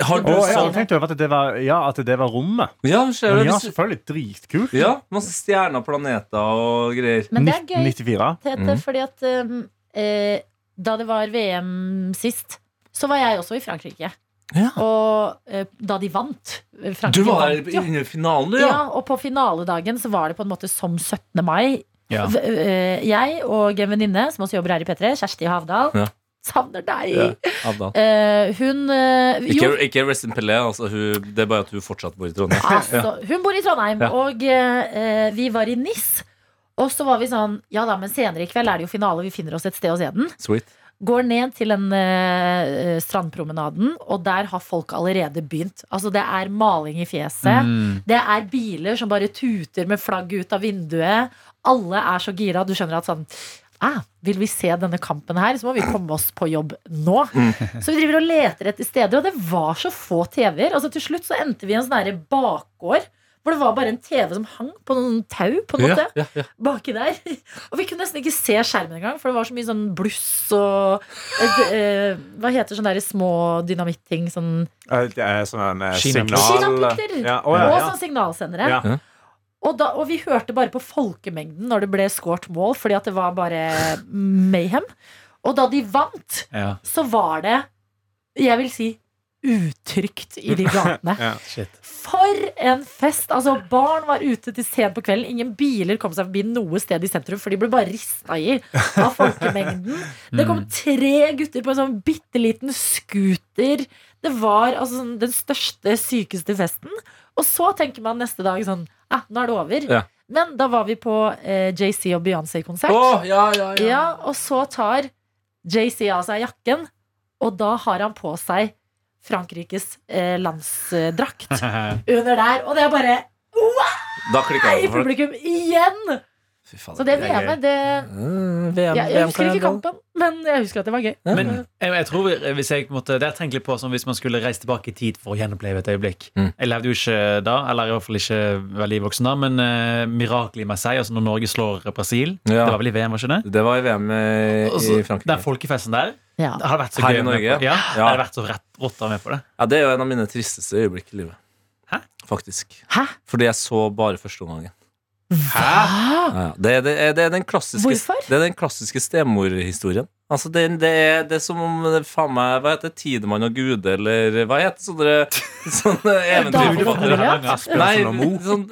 Speaker 3: Har
Speaker 4: Å,
Speaker 3: du
Speaker 4: jeg hadde
Speaker 3: sånn?
Speaker 4: tenkt over at det var, ja, at det var rommet.
Speaker 3: Ja, ser du?
Speaker 4: Men ja,
Speaker 3: Hvis du-
Speaker 4: selvfølgelig. Dritkult.
Speaker 3: Ja, masse stjerner, planeter og greier.
Speaker 2: Men det er gøy.
Speaker 4: 1994.
Speaker 2: Tete,
Speaker 3: Mhm.
Speaker 2: fordi at um, eh, da det var VM sist, så var jeg også i Frankrike.
Speaker 3: Ja.
Speaker 2: Og eh, da de vant eh, Frankrike
Speaker 3: Du var
Speaker 2: vant,
Speaker 3: der
Speaker 2: ja.
Speaker 3: under finalen, du,
Speaker 2: Ja,
Speaker 3: ja.
Speaker 2: og på finaledagen så var det på en måte som 17. mai.
Speaker 5: Ja.
Speaker 2: V- eh, Jeg og en venninne som også jobber her i P3, Kjersti Havdal,
Speaker 3: Ja.
Speaker 2: savner deg!
Speaker 3: Ja, Avdal.
Speaker 2: Eh, hun eh, jo,
Speaker 3: Ikke, ikke Rest in Pelé, altså, hun, det er bare at hun fortsatt bor i Trondheim.
Speaker 2: altså, hun bor i Trondheim,
Speaker 3: Ja.
Speaker 2: og eh, vi var i NIS. Og så var vi sånn Ja da, men senere i kveld er det jo finale, vi finner oss et sted å se den.
Speaker 3: Sweet.
Speaker 2: Går ned til den eh, strandpromenaden, og der har folk allerede begynt. Altså, det er maling i fjeset.
Speaker 5: Mm.
Speaker 2: Det er biler som bare tuter med flagg ut av vinduet. Alle er så gira. Du skjønner at sånn ah, Vil vi se denne kampen her, så må vi komme oss på jobb nå. Så vi driver og leter etter steder, og det var så få TV-er. Altså, til slutt så endte vi i en sånn herre bakgård. Hvor det var bare en TV som hang på noen tau. på en måte
Speaker 3: Ja, ja, ja.
Speaker 2: baki der. Og vi kunne nesten ikke se skjermen engang, for det var så mye sånn bluss og et, eh, Hva heter sånne der små dynamitting? Sånn,
Speaker 4: Eh, Det er sånn eh,
Speaker 5: Kinapunkter.
Speaker 4: signal...
Speaker 2: Kinapunkter!
Speaker 4: Ja, å,
Speaker 2: og
Speaker 4: ja,
Speaker 2: sånn signalsendere.
Speaker 4: ja. ja.
Speaker 2: Og, da, og vi hørte bare på folkemengden når det ble skåret mål, fordi at det var bare mayhem. Og da de vant,
Speaker 5: Ja.
Speaker 2: så var det, jeg vil si, utrygt i de gatene.
Speaker 4: Ja.
Speaker 2: For en fest! Altså, barn var ute til sent på kvelden. Ingen biler kom seg forbi noe sted i sentrum, for de ble bare rista i av folkemengden. Det
Speaker 3: Mm.
Speaker 2: kom tre gutter på en sånn bitte liten scooter. Det var altså sånn, den største, sykeste festen. Og så tenker man neste dag sånn ah, Nå er det over.
Speaker 3: Ja.
Speaker 2: Men da var vi på eh, JC og Beyoncé-konsert.
Speaker 3: Å, ja, ja, ja.
Speaker 2: Ja, og så tar JC av seg jakken, og da har han på seg Frankrikes eh, landsdrakt under der. Og det er bare
Speaker 3: Da klikka
Speaker 2: i
Speaker 3: jeg for det.
Speaker 2: publikum igjen!
Speaker 3: Fy faen,
Speaker 2: Så det
Speaker 3: er gøy.
Speaker 2: VM-et, det
Speaker 3: Mm, VM,
Speaker 2: jeg, jeg husker ikke kampen, men jeg husker at det var gøy.
Speaker 3: Ja.
Speaker 5: Men jeg, jeg tror vi- hvis jeg på en måte, Det jeg tenker litt på som hvis man skulle reist tilbake i tid for å gjenoppleve et øyeblikk.
Speaker 3: Mm.
Speaker 5: Jeg levde jo ikke da, eller i hvert fall ikke veldig voksen da, men uh, mirakelet i Marseille, altså når Norge slår Brasil
Speaker 3: Ja.
Speaker 5: Det var vel i VM, var ikke det?
Speaker 3: Det var i VM i,
Speaker 5: Altså,
Speaker 3: i Frankrike.
Speaker 5: Den folkefesten der
Speaker 2: Ja.
Speaker 5: det hadde vært så
Speaker 3: Her i
Speaker 5: gøy. å være med
Speaker 3: Norge?
Speaker 5: på. Ja,
Speaker 3: Ja.
Speaker 5: Jeg hadde vært så rett rått å være med på det.
Speaker 3: Ja, det er jo en av mine tristeste øyeblikk i livet.
Speaker 5: Hæ?
Speaker 3: Faktisk.
Speaker 2: Hæ?
Speaker 3: Fordi jeg så bare førsteomgangen.
Speaker 2: Hva?
Speaker 3: Ja, ja. det, er- det, er- det er den klassiske,
Speaker 2: Hvorfor?
Speaker 3: det er den klassiske stemorhistorien. Altså, det, det, er, det er som om det, er faen meg, Hva heter det? Tidemann og Gude, eller hva heter sånne, sånne eventyrforfattere?
Speaker 2: Ja.
Speaker 3: Nei,
Speaker 4: Asbjørnsen og Moe.
Speaker 3: sånn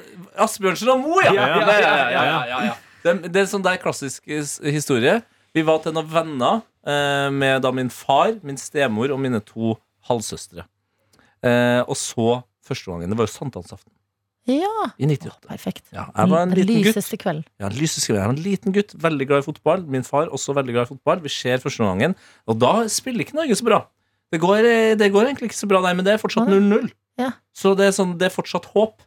Speaker 3: Asbjørnsen og Mo, ja!
Speaker 5: Ja, ja, ja, ja, ja,
Speaker 3: Det, det er en sånn der klassisk his- historie. Vi var til noen venner eh, med da min far, min stemor og mine to halvsøstre. Eh, og så første gangen. Det var jo sankthansaften
Speaker 2: Ja,
Speaker 3: i 98.
Speaker 2: perfekt.
Speaker 3: Ja, jeg var en
Speaker 2: Den
Speaker 3: liten gutt.
Speaker 2: lyseste kvelden.
Speaker 3: Ja, en lyseskriver. Jeg var en liten gutt, veldig glad i fotball. Min far også veldig glad i fotball. Vi ser første gangen, og da spiller ikke Norge så bra. Det går, eh, det går egentlig ikke så bra, nei, men det er fortsatt
Speaker 2: Nei.
Speaker 3: 0-0.
Speaker 2: Ja.
Speaker 3: Så det er, sånn, det er fortsatt håp.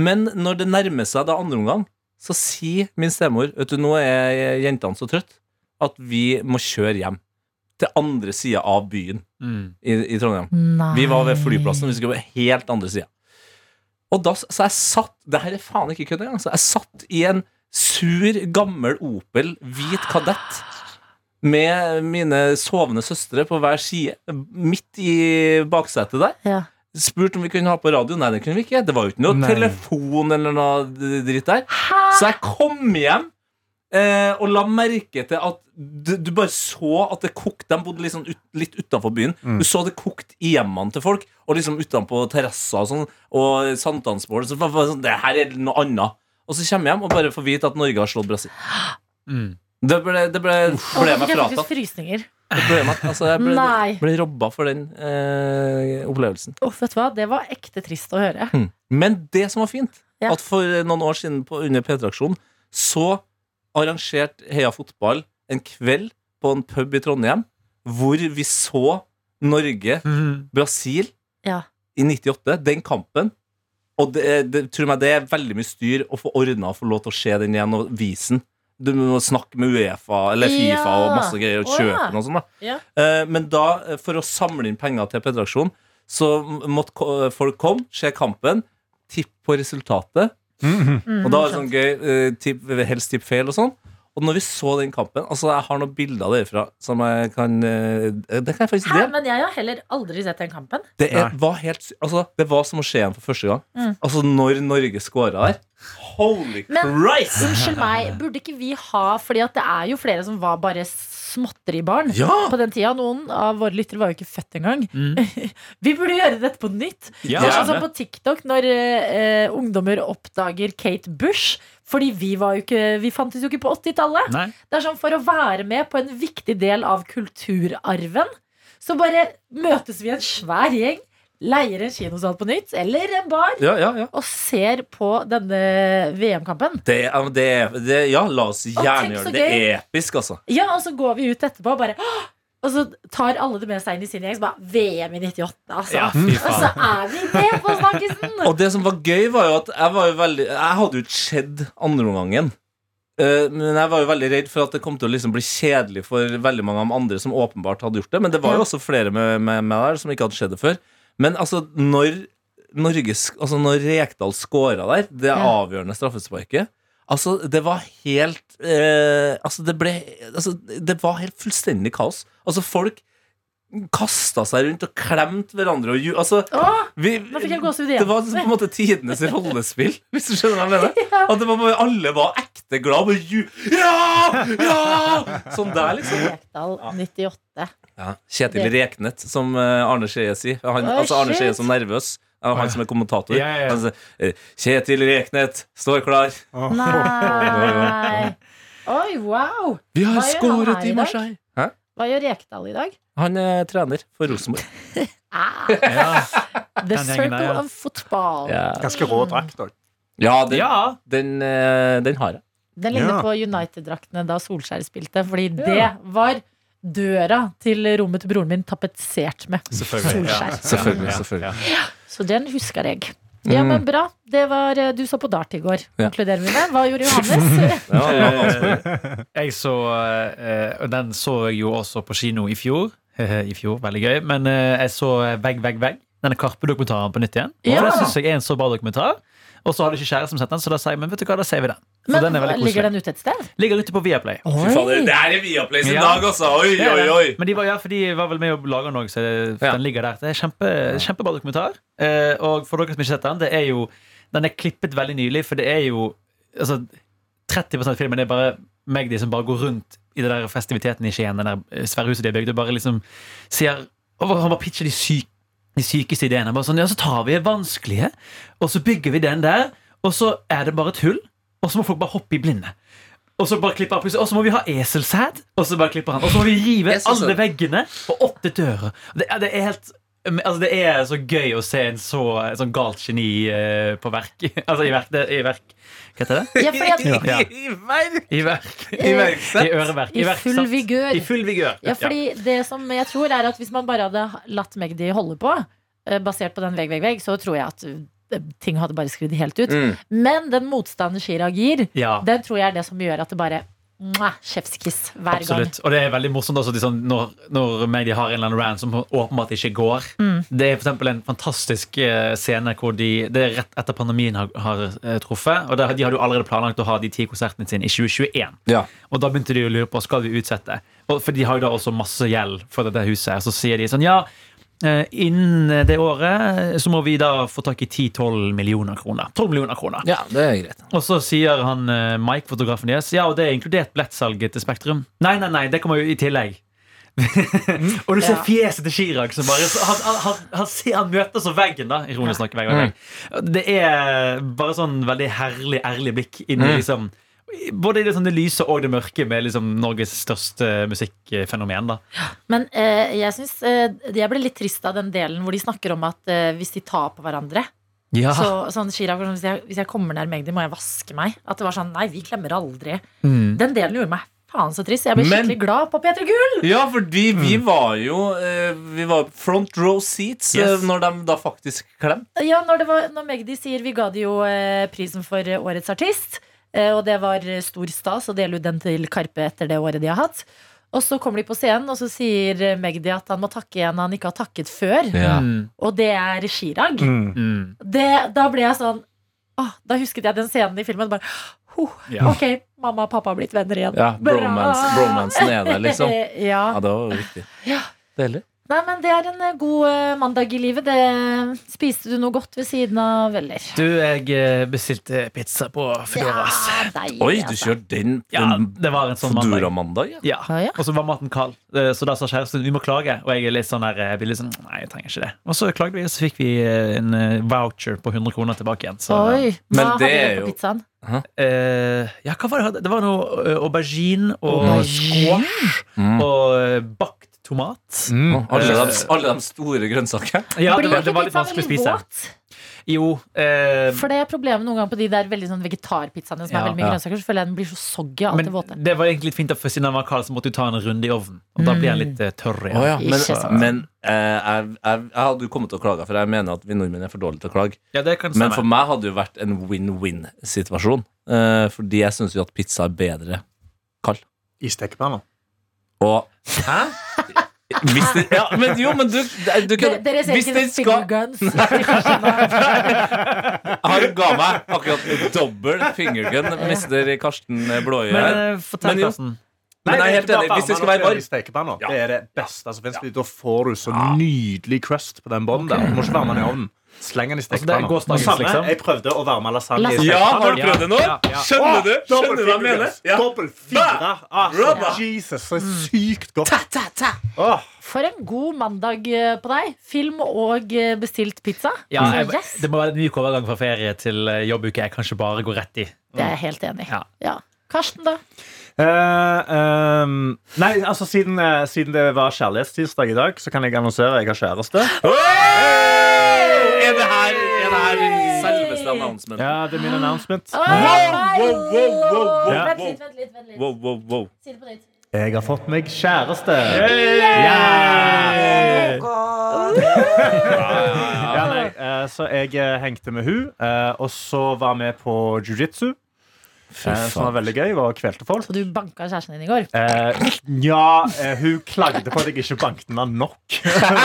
Speaker 3: Men når det nærmer seg da andre omgang, så sier min stemor Vet du, nå er jentene så trøtt at vi må kjøre hjem. Til andre sida av byen
Speaker 5: Mm.
Speaker 3: i, i Trondheim.
Speaker 2: Nei.
Speaker 3: Vi var ved flyplassen, vi skulle på helt andre sida. Og da, så jeg satt Det her er faen ikke kødd engang. Så jeg satt i en sur, gammel Opel, hvit kadett, med mine sovende søstre på hver side, midt i baksetet der.
Speaker 2: Ja.
Speaker 3: Spurt om vi kunne ha på radio. Nei, det kunne vi ikke. Det var jo ikke noe
Speaker 4: Nei.
Speaker 3: telefon eller noe dritt der. Så jeg kom hjem eh, og la merke til at du, du bare så at det kokte. De bodde liksom ut, litt utenfor byen.
Speaker 4: Mm.
Speaker 3: Du så det kokte i hjemmene til folk, og liksom utenpå terrasser og sånn, og sankthansbål. Så var det sånn, det her er noe annet. Og så kommer jeg hjem og bare får vite at Norge har slått Brasil.
Speaker 5: Mm.
Speaker 3: Det ble, det ble,
Speaker 2: Å,
Speaker 3: ble meg
Speaker 2: jeg fikk
Speaker 3: fratatt.
Speaker 2: faktisk frysninger.
Speaker 3: Det ble meg, altså, jeg ble,
Speaker 2: Nei.
Speaker 3: ble robba for den eh, opplevelsen.
Speaker 2: Å, vet du hva? Det var ekte trist å høre.
Speaker 3: Mm. Men det som var fint,
Speaker 2: Ja.
Speaker 3: at for noen år siden på, under P3-aksjonen, så arrangerte Heia Fotball en kveld på en pub i Trondheim hvor vi så Norge-Brasil
Speaker 2: Ja.
Speaker 3: i 98, den kampen. Og det, eh, det, tror meg det er veldig mye styr å få ordna og få lov til å se den igjen og vise den. Du må snakke med Uefa eller Fifa
Speaker 2: Ja.
Speaker 3: og masse greier og
Speaker 2: Å,
Speaker 3: kjøpe
Speaker 2: ja.
Speaker 3: noe sånt. da
Speaker 2: Ja.
Speaker 3: Eh, Men da, eh, for å samle inn penger til P3-aksjonen, så måtte ko- eh, folk komme, se kampen, tippe på resultatet.
Speaker 2: Mm,
Speaker 3: Og da var det sånn gøy, eh, tipp, helst tipp feil og sånn. Og når vi så den kampen Altså, jeg har noen bilder av det fra som jeg kan eh, Det kan jeg faktisk
Speaker 2: Hæ,
Speaker 3: dele.
Speaker 2: men jeg har heller aldri sett den kampen.
Speaker 3: Det er,
Speaker 4: Nei.
Speaker 3: var helt sy- Altså, det var som å se igjen for første gang.
Speaker 2: Mm.
Speaker 3: Altså, når Norge scora her Holy
Speaker 2: Men-
Speaker 3: Christ!
Speaker 2: Unnskyld meg, burde ikke vi ha Fordi at det er jo flere som var bare småtteribarn
Speaker 3: Ja!
Speaker 2: på den tida. Noen av våre lyttere var jo ikke født engang.
Speaker 5: Mm.
Speaker 2: Vi burde gjøre dette på nytt.
Speaker 5: Ja,
Speaker 2: Kanskje
Speaker 5: gjerne.
Speaker 2: sånn på TikTok, når eh, eh, ungdommer oppdager Kate Bush. Fordi vi, var jo ikke, vi fantes jo ikke på 80-tallet.
Speaker 5: Nei.
Speaker 2: Det er sånn For å være med på en viktig del av kulturarven, så bare møtes vi en svær gjeng, leier en kinosal på nytt, eller en bar,
Speaker 3: Ja, ja, ja.
Speaker 2: og ser på denne VM-kampen.
Speaker 3: Det, ja, men det, det, ja, la oss gjerne
Speaker 2: tenk så
Speaker 3: gjøre det. Det
Speaker 2: gøy.
Speaker 3: er episk, altså.
Speaker 2: Ja, og så går vi ut etterpå og bare «Åh!» Og så tar alle det med seg inn i sin gjeng. Så bare VM i 98, altså.
Speaker 5: Ja, fy
Speaker 2: og så er
Speaker 5: faen.
Speaker 2: vi med på snakkisen!
Speaker 3: Og det som var gøy, var jo at jeg var jo veldig Jeg hadde jo ikke sett andreomgangen. Eh, Men jeg var jo veldig redd for at det kom til å liksom bli kjedelig for veldig mange av de andre som åpenbart hadde gjort det. Men det var jo også flere med, med, med der som ikke hadde sett det før. Men altså, når Norges, altså når Rekdal scora der, det
Speaker 2: Ja.
Speaker 3: avgjørende straffesparket Altså, det var helt eh, Altså, det ble altså, Det var helt fullstendig kaos. Altså, folk kasta seg rundt og klemte hverandre og ju... Altså,
Speaker 2: Åh,
Speaker 3: vi,
Speaker 2: nå fikk jeg gåsehud
Speaker 3: det
Speaker 2: igjen.
Speaker 3: var liksom på en måte tidenes rollespill, hvis du skjønner hva jeg mener. At det var bare, alle var ekte glad bare ju Ja! Ja! Sånn der, liksom.
Speaker 2: Rekdal 98.
Speaker 3: Ja, Kjetil Reknet, som eh, Arne Skeie sier. Han,
Speaker 2: Oi,
Speaker 3: altså Arne Skeie
Speaker 2: shit.
Speaker 3: som nervøs. Ja, Han som er kommentator.
Speaker 5: Ja, ja, ja.
Speaker 3: Han sier, eh, Kjetil Reknet står klar.
Speaker 2: Nei. Oi, wow!
Speaker 3: Vi
Speaker 2: Hva gjør
Speaker 3: har
Speaker 2: han her i
Speaker 3: skåret i
Speaker 2: dag?
Speaker 3: Marseille. Hæ?
Speaker 2: Hva gjør Rekdal i dag?
Speaker 3: Han er trener for Rosenborg.
Speaker 2: Ah,
Speaker 5: Ja.
Speaker 2: the
Speaker 5: Den gjengen
Speaker 2: circle
Speaker 5: der, ja.
Speaker 2: of football.
Speaker 3: Ja,
Speaker 4: Ganske rå drakt òg.
Speaker 3: den,
Speaker 5: ja.
Speaker 3: den, eh, den har jeg.
Speaker 2: Den ligner
Speaker 4: Ja.
Speaker 2: på United-draktene da Solskjær spilte, fordi det var døra til rommet til broren min tapetsert med
Speaker 5: Selvfølgelig.
Speaker 2: Solskjær.
Speaker 3: Selvfølgelig, selvfølgelig.
Speaker 2: Så den husker jeg. Ja,
Speaker 5: Mm.
Speaker 2: men bra. Det var, eh, du så på dart i går,
Speaker 3: Ja.
Speaker 2: konkluderer vi med. Hva gjorde Johannes?
Speaker 3: Ja, ja, ja.
Speaker 5: Eh, jeg så eh, Og den så jeg jo også på kino i fjor. I fjor, Veldig gøy. Men eh, jeg så Vegg, vegg, vegg. Denne Karpe-dokumentaren på nytt igjen. Og
Speaker 2: Ja.
Speaker 5: Det syns jeg er en så bra dokumentar. Og så hadde ikke kjæresten sett den, så da sier jeg, men vet du hva, da ser vi den. For
Speaker 2: Men,
Speaker 5: den er veldig
Speaker 2: ligger
Speaker 5: koselig.
Speaker 2: den ute et sted?
Speaker 5: Ligger ute på Viaplay.
Speaker 3: Fy fader, det her er Viaplay sin
Speaker 5: Ja.
Speaker 3: dag, altså! Oi,
Speaker 5: Det er
Speaker 3: oi,
Speaker 5: den.
Speaker 3: oi!
Speaker 5: Men de var, ja, for de var vel med og laga den òg, så det-
Speaker 3: Ja.
Speaker 5: den ligger der. Det er kjempe, kjempebra dokumentar. Eh, og for dere som ikke har sett den, det er jo Den er klippet veldig nylig, for det er jo altså, 30 av filmen er bare Magdi som bare går rundt i det der festiviteten i Skien, det der eh, svære huset de har bygd, og bare liksom ser og Han bare pitcher de syke de sykeste ideene. Bare sånn, ja, så tar vi det vanskelige, og så bygger vi den der, og så er det bare et hull, og så må folk bare hoppe i blinde. Og så bare klipper han plutselig, og så må vi ha eselsæd, og så bare klipper han. Og så må vi rive
Speaker 3: Eselsæd.
Speaker 5: alle veggene på åtte dører. Det, ja, det er helt Altså, det er så gøy å se en så, et sånn galt geni eh, på verk. Altså, i verk, det, i verk Hva heter det?
Speaker 2: Ja, fordi at
Speaker 5: Ja.
Speaker 3: I verk!
Speaker 5: I verk.
Speaker 3: I verksett.
Speaker 5: I øreverk.
Speaker 2: I
Speaker 5: verksatt.
Speaker 2: full vigør.
Speaker 5: I full vigør.
Speaker 2: Ja, fordi det som jeg tror er at Hvis man bare hadde latt Magdi holde på, eh, basert på den vegg, vegg, vegg, så tror jeg at eh, ting hadde bare sklidd helt ut.
Speaker 3: Mm.
Speaker 2: Men den motstanden Chirag gir,
Speaker 5: Ja.
Speaker 2: den tror jeg er det som gjør at det bare mwah, Chefskiss hver gang.
Speaker 5: Absolutt. Og det er veldig morsomt også, de sånn, når, når Magdi har en eller annen rant som åpenbart ikke går.
Speaker 2: Mm.
Speaker 5: Det er for eksempel en fantastisk eh, scene hvor de Det er rett etter pandemien har, har eh, truffet. Og der, de hadde jo allerede planlagt å ha de ti konsertene sine i 2021.
Speaker 3: Ja.
Speaker 5: Og da begynte de å lure på skal vi utsette. Og, for de har jo da også masse gjeld for dette huset. her. Så sier de sånn ja, eh, innen det året eh, så må vi da få tak i 10-12 millioner kroner. 12 millioner kroner.
Speaker 3: ja, det er greit.
Speaker 5: Og så sier han eh, Mike, fotografen deres, ja, og det er inkludert billettsalget til Spektrum. Nei, nei, nei, det kommer jo i tillegg. og du ser
Speaker 2: Ja.
Speaker 5: fjeset til Chirag som bare så Han, han, han, han, ser, han møter så veggen, da. Ironisk nok. Vegg, vegg, vegg. Det er bare sånn veldig herlig, ærlig blikk inn i liksom Både i det, sånn, det lyse og det mørke med liksom, Norges største musikkfenomen. Da.
Speaker 2: Men eh, jeg syns eh, Jeg ble litt trist av den delen hvor de snakker om at eh, hvis de tar på hverandre
Speaker 5: Ja.
Speaker 2: så, sånn, Chirag, var sånn, hvis, jeg, hvis jeg kommer nær Magdi, må jeg vaske meg. At det var sånn Nei, vi klemmer aldri.
Speaker 5: Mm.
Speaker 2: Den delen gjorde meg faen så trist. Jeg ble
Speaker 3: Men-
Speaker 2: skikkelig glad på P3 Gull!
Speaker 3: Ja, fordi vi
Speaker 5: Mm.
Speaker 3: var jo eh, Vi var front row seats eh,
Speaker 5: Yes.
Speaker 3: når de da faktisk klemte.
Speaker 2: Ja, når, det var, når Magdi sier Vi ga det jo eh, prisen for eh, årets artist. Eh, og det var eh, stor stas å dele ut den til Karpe etter det året de har hatt. Og så kommer de på scenen, og så sier eh, Magdi at han må takke en han ikke har takket før.
Speaker 5: Mm.
Speaker 2: Og det er Chirag.
Speaker 4: Mm.
Speaker 5: Mm.
Speaker 2: Det, da ble jeg sånn åh, Da husket jeg den scenen i filmen. Bare, «Huh,
Speaker 5: Ja.
Speaker 2: Ok, mamma og pappa har blitt venner igjen.
Speaker 3: Ja, bromance, bromansen er der, liksom.
Speaker 2: ja.
Speaker 3: Ja, det var jo viktig.
Speaker 2: Ja.
Speaker 3: Deilig.
Speaker 2: Nei, men det er en eh, god eh, mandag i livet. Det, spiste du noe godt ved siden av, eller?
Speaker 5: Du, jeg eh, bestilte pizza på Foodora. ass.
Speaker 2: deilig,
Speaker 3: Oi, du
Speaker 2: altså.
Speaker 3: kjører den,
Speaker 5: Ja,
Speaker 3: den
Speaker 5: det var en sånn mandag.
Speaker 3: Fodora-mandag? Ja.
Speaker 5: Ja.
Speaker 2: Ja, ja.
Speaker 5: Og så var maten kald, Eh, så da sa kjæresten vi må klage. Og jeg er litt sånn der, eh, blir litt sånn, nei, jeg trenger ikke det. Og så klagde vi, og så fikk vi eh, en eh, voucher på 100 kroner tilbake igjen. Så,
Speaker 2: Oi,
Speaker 3: Sånn, Men
Speaker 2: hva hadde
Speaker 3: det er
Speaker 2: dere på
Speaker 3: jo-
Speaker 2: pizzaen?
Speaker 5: eh, ja, hva var det? jeg hadde? Det var noe eh, aubergine og
Speaker 2: Aubergine?
Speaker 5: squash
Speaker 3: Mm.
Speaker 5: og eh, bakt tomat.
Speaker 4: Mm.
Speaker 3: Alle, de, alle de store grønnsakene.
Speaker 5: Ja, det
Speaker 2: Blir
Speaker 5: var, det
Speaker 2: ikke
Speaker 5: var litt
Speaker 2: pizzaen
Speaker 5: vanskelig å
Speaker 2: veldig
Speaker 5: spise.
Speaker 2: våt?
Speaker 5: Jo. Eh,
Speaker 2: For det er problemet noen ganger på de der veldig sånn vegetarpizzaene som
Speaker 5: Ja.
Speaker 2: er veldig mye
Speaker 3: Ja.
Speaker 2: grønnsaker. Så føler jeg den blir så soggy av alt
Speaker 5: men
Speaker 2: det våte.
Speaker 5: det var egentlig litt fint, for siden han var kald, så måtte du ta en runde i ovnen. Og da blir han
Speaker 2: Mm.
Speaker 5: litt eh, tørr igjen.
Speaker 3: Å ja, Men,
Speaker 2: Ikke sant.
Speaker 3: men eh, jeg, jeg, jeg hadde jo kommet til å klage, for jeg mener at vi nordmenn er for dårlige til å klage.
Speaker 5: Ja, det kan
Speaker 3: Men
Speaker 5: stemme.
Speaker 3: for meg hadde det jo vært en win-win-situasjon. eh, fordi jeg syns jo at pizza er bedre kald.
Speaker 4: I stekepanna.
Speaker 3: Og Hæ? Hvis det, ja, men jo, men du,
Speaker 2: Dere
Speaker 3: du kan,
Speaker 2: dere ser
Speaker 3: Hvis
Speaker 2: ikke noen
Speaker 3: den skal
Speaker 2: fingerguns.
Speaker 3: Han ga meg akkurat dobbel fingergun, mister Karsten Blåøye
Speaker 5: Men
Speaker 3: her.
Speaker 5: eh, fortell,
Speaker 3: Men jo-
Speaker 5: Karsten.
Speaker 3: Men jeg er helt
Speaker 4: det
Speaker 3: enig.
Speaker 4: bare
Speaker 3: Hvis det
Speaker 4: varmen
Speaker 3: skal være
Speaker 4: oppi i
Speaker 3: varmt
Speaker 4: stekepanna.
Speaker 3: Ja.
Speaker 4: Det er det beste som fins. Da får du så nydelig crust på den bånden der. Du må ikke varme den i ovnen. Sleng den i
Speaker 5: det er
Speaker 4: stekepanna.
Speaker 5: gårsdagens,
Speaker 4: Samme,
Speaker 5: liksom.
Speaker 4: Jeg prøvde å varme lasagne i
Speaker 2: Lasagne.
Speaker 3: Ja,
Speaker 4: stekepanna.
Speaker 3: har du prøvd det nå?
Speaker 5: Ja, ja.
Speaker 3: Skjønner du?
Speaker 4: Dobbel
Speaker 3: Skjønner du hva jeg
Speaker 4: fingerguns.
Speaker 3: mener? Ja.
Speaker 4: Dobbel fire. Altså,
Speaker 3: Rabba.
Speaker 4: Jesus, så sykt godt. Åh.
Speaker 2: For en god mandag eh, på deg. Film og eh, bestilt pizza.
Speaker 5: Ja,
Speaker 2: Altså,
Speaker 5: jeg,
Speaker 2: yes,
Speaker 5: det må være en myk overgang fra ferie til eh, jobbuke jeg kanskje bare går rett i.
Speaker 2: det er jeg helt enig i.
Speaker 5: Ja.
Speaker 2: Ja. Karsten, da?
Speaker 4: Eh, ehm, nei, altså siden, eh, siden det var kjærlighetstirsdag i dag, så kan jeg annonsere jeg har kjæreste.
Speaker 3: Er det her, er det her selveste announcement?
Speaker 4: Ja, det er min announcement.
Speaker 3: wow, wow, wow, wow,
Speaker 2: Vent
Speaker 3: wow.
Speaker 2: litt, vent litt. Vent litt.
Speaker 3: Wow, wow, wow.
Speaker 2: Si det på nytt.
Speaker 4: Jeg har fått meg kjæreste. Ja, nei, eh, så jeg eh, hengte med hun, eh, og så var vi på jiu-jitsu, eh, som
Speaker 3: sånn
Speaker 4: var veldig gøy, og kvelte folk.
Speaker 2: Og du banka kjæresten din i går.
Speaker 4: Eh, ja, eh, hun klagde på at jeg ikke banket henne nok.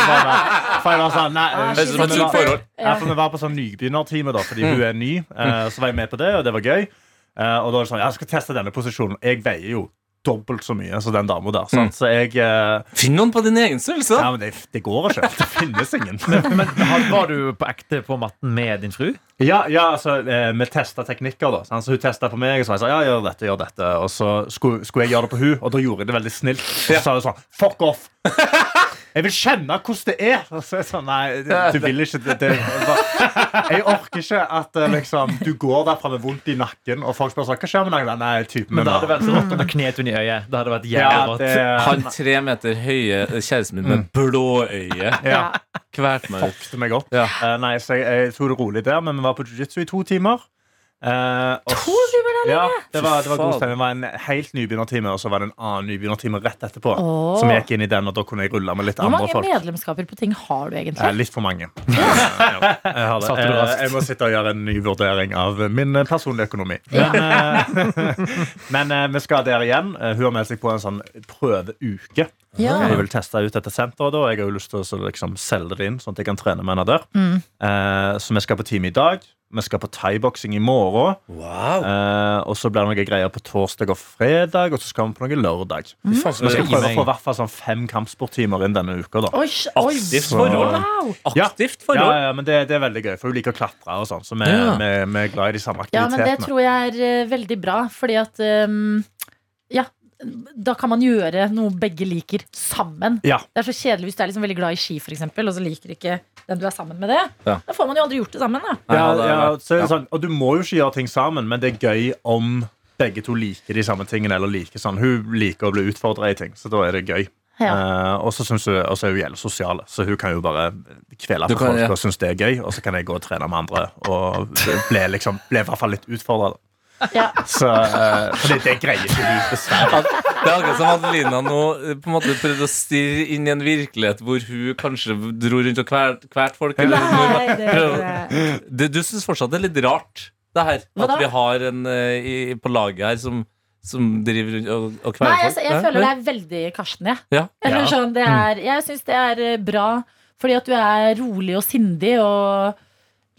Speaker 4: For jeg var sånn, nei, eh,
Speaker 3: Høres ut som et
Speaker 4: for vi
Speaker 3: sunt
Speaker 4: var-
Speaker 3: forhold.
Speaker 4: Ja, for vi var på sånn nybegynnertime, da, fordi hun er ny. eh, Så var jeg med på det, og det var gøy. Eh, Og da var det sånn, ja, jeg skal teste denne posisjonen. Jeg veier jo dobbelt så mye som den dama der. Sant? Så jeg eh,
Speaker 3: Finn noen på din egen størrelse, da.
Speaker 4: Ja, men det, det går ikke. Det finnes ingen.
Speaker 5: Men har- var du på ekte på matten med din fru?
Speaker 4: Ja, ja altså, eh, vi testa teknikker, da. sant? Så hun testa på meg, og så var jeg sånn, ja, gjør dette, gjør dette. Og så skulle, skulle jeg gjøre det på hun, og da gjorde jeg det veldig snilt. Og så sa hun sånn, fuck off! Jeg vil kjenne hvordan det er! Og så er jeg sånn, nei, du vil ikke det, det. Jeg orker ikke at eh, liksom, du går derfra med vondt i nakken, og folk spør sånn, hva skjer med nakken? Nei, typen
Speaker 5: Men
Speaker 4: min
Speaker 5: da hadde det
Speaker 4: har-
Speaker 5: vært så rått om
Speaker 2: Mm.
Speaker 5: da knet hun i øyet. Da hadde det vært
Speaker 4: ja, eh,
Speaker 5: jævlig rått.
Speaker 4: det,
Speaker 3: Han tre meter høye eh, kjæresten min med blå øye.
Speaker 4: ja.
Speaker 3: Hvert meg ut.
Speaker 4: fuckte meg opp.
Speaker 3: Ja.
Speaker 4: Eh, nei, så jeg, jeg tok det rolig der, men vi var på jiu-jitsu i to timer. Eh, og- Ja, det var, det var god
Speaker 3: Faen.
Speaker 4: stemning. Det var en helt nybegynnertime, og så var det en annen nybegynnertime rett etterpå.
Speaker 2: Åh.
Speaker 4: Som jeg gikk inn i den, og da kunne jeg rulle med litt
Speaker 2: Hvor
Speaker 4: andre
Speaker 2: mange
Speaker 4: folk.
Speaker 2: medlemskaper på ting har du
Speaker 4: Eh,
Speaker 2: egentlig?
Speaker 4: litt for mange. Eh, ja, jeg, har det.
Speaker 5: Satte du raskt.
Speaker 4: Eh, jeg må sitte og gjøre en ny vurdering av min eh, personlige økonomi. Men, eh, men eh, vi skal der igjen. Eh, Hun har meldt seg på en sånn prøveuke.
Speaker 2: Ja.
Speaker 4: Hun vil teste ut dette senteret, da, og jeg har jo lyst til å så liksom selge det inn. Sånn at jeg kan trene med henne der
Speaker 2: Mm.
Speaker 4: Eh, Så vi skal på time i dag. Vi skal på thaiboksing i morgen.
Speaker 3: Wow.
Speaker 4: Eh, og så blir det noen greier på torsdag og fredag, og så skal vi på noe lørdag.
Speaker 2: Mm.
Speaker 3: Fy faen,
Speaker 4: Så vi skal
Speaker 3: så
Speaker 4: prøve å få i hvert fall sånn fem kampsporttimer inn denne uka. da
Speaker 2: Oi, oi,
Speaker 3: Aktivt
Speaker 4: forhold.
Speaker 2: wow.
Speaker 3: aktivt
Speaker 4: ja,
Speaker 3: forhold.
Speaker 4: ja, men det, det er veldig gøy, for hun liker å klatre og sånn. Så vi,
Speaker 3: Ja.
Speaker 4: vi, vi er glad i de samme
Speaker 2: Ja, men det
Speaker 4: aktivitetene.
Speaker 2: tror jeg er eh, veldig bra, fordi at ehm, Ja, da kan man gjøre noe begge liker, sammen.
Speaker 4: Ja.
Speaker 2: Det er så kjedelig hvis du er liksom veldig glad i ski, for eksempel, og så liker ikke den du er sammen med det.
Speaker 3: Ja.
Speaker 2: Da får man jo aldri gjort det sammen, da.
Speaker 4: Ja,
Speaker 3: det er
Speaker 4: ja,
Speaker 3: det.
Speaker 4: så er det sånn, og du må jo ikke gjøre ting sammen, men det er gøy om begge to liker de samme tingene. Eller liker sånn, Hun liker å bli utfordra i ting, så da er det gøy.
Speaker 2: Ja.
Speaker 4: Eh, og så synes hun, og så er hun jævlig sosial, så hun kan jo bare kvele
Speaker 3: Du
Speaker 4: for
Speaker 3: kan-
Speaker 4: folk
Speaker 3: ja.
Speaker 4: og synes det er gøy. Og så kan jeg gå og trene med andre og bli liksom, ble i hvert fall litt utfordra.
Speaker 2: Ja.
Speaker 4: Så eh, fordi det greier ikke vi, dessverre.
Speaker 3: At- Det er akkurat som Adelina nå eh, på en måte prøvde å stirre inn i en virkelighet hvor hun kanskje dro rundt og kvært, kvært folk. Eller,
Speaker 2: Nei, det
Speaker 3: Prøv. du du syns fortsatt det er litt rart, det her?
Speaker 2: Hva da?
Speaker 3: At vi har en eh, i, på laget her som, som driver rundt og, og
Speaker 2: Nei,
Speaker 3: kveler folk?
Speaker 2: altså, jeg
Speaker 3: Hæ?
Speaker 2: føler det er veldig Karsten, jeg.
Speaker 3: Ja.
Speaker 2: Eller
Speaker 4: Ja.
Speaker 2: sånn, det er, jeg syns det er eh, bra fordi at du er rolig og sindig og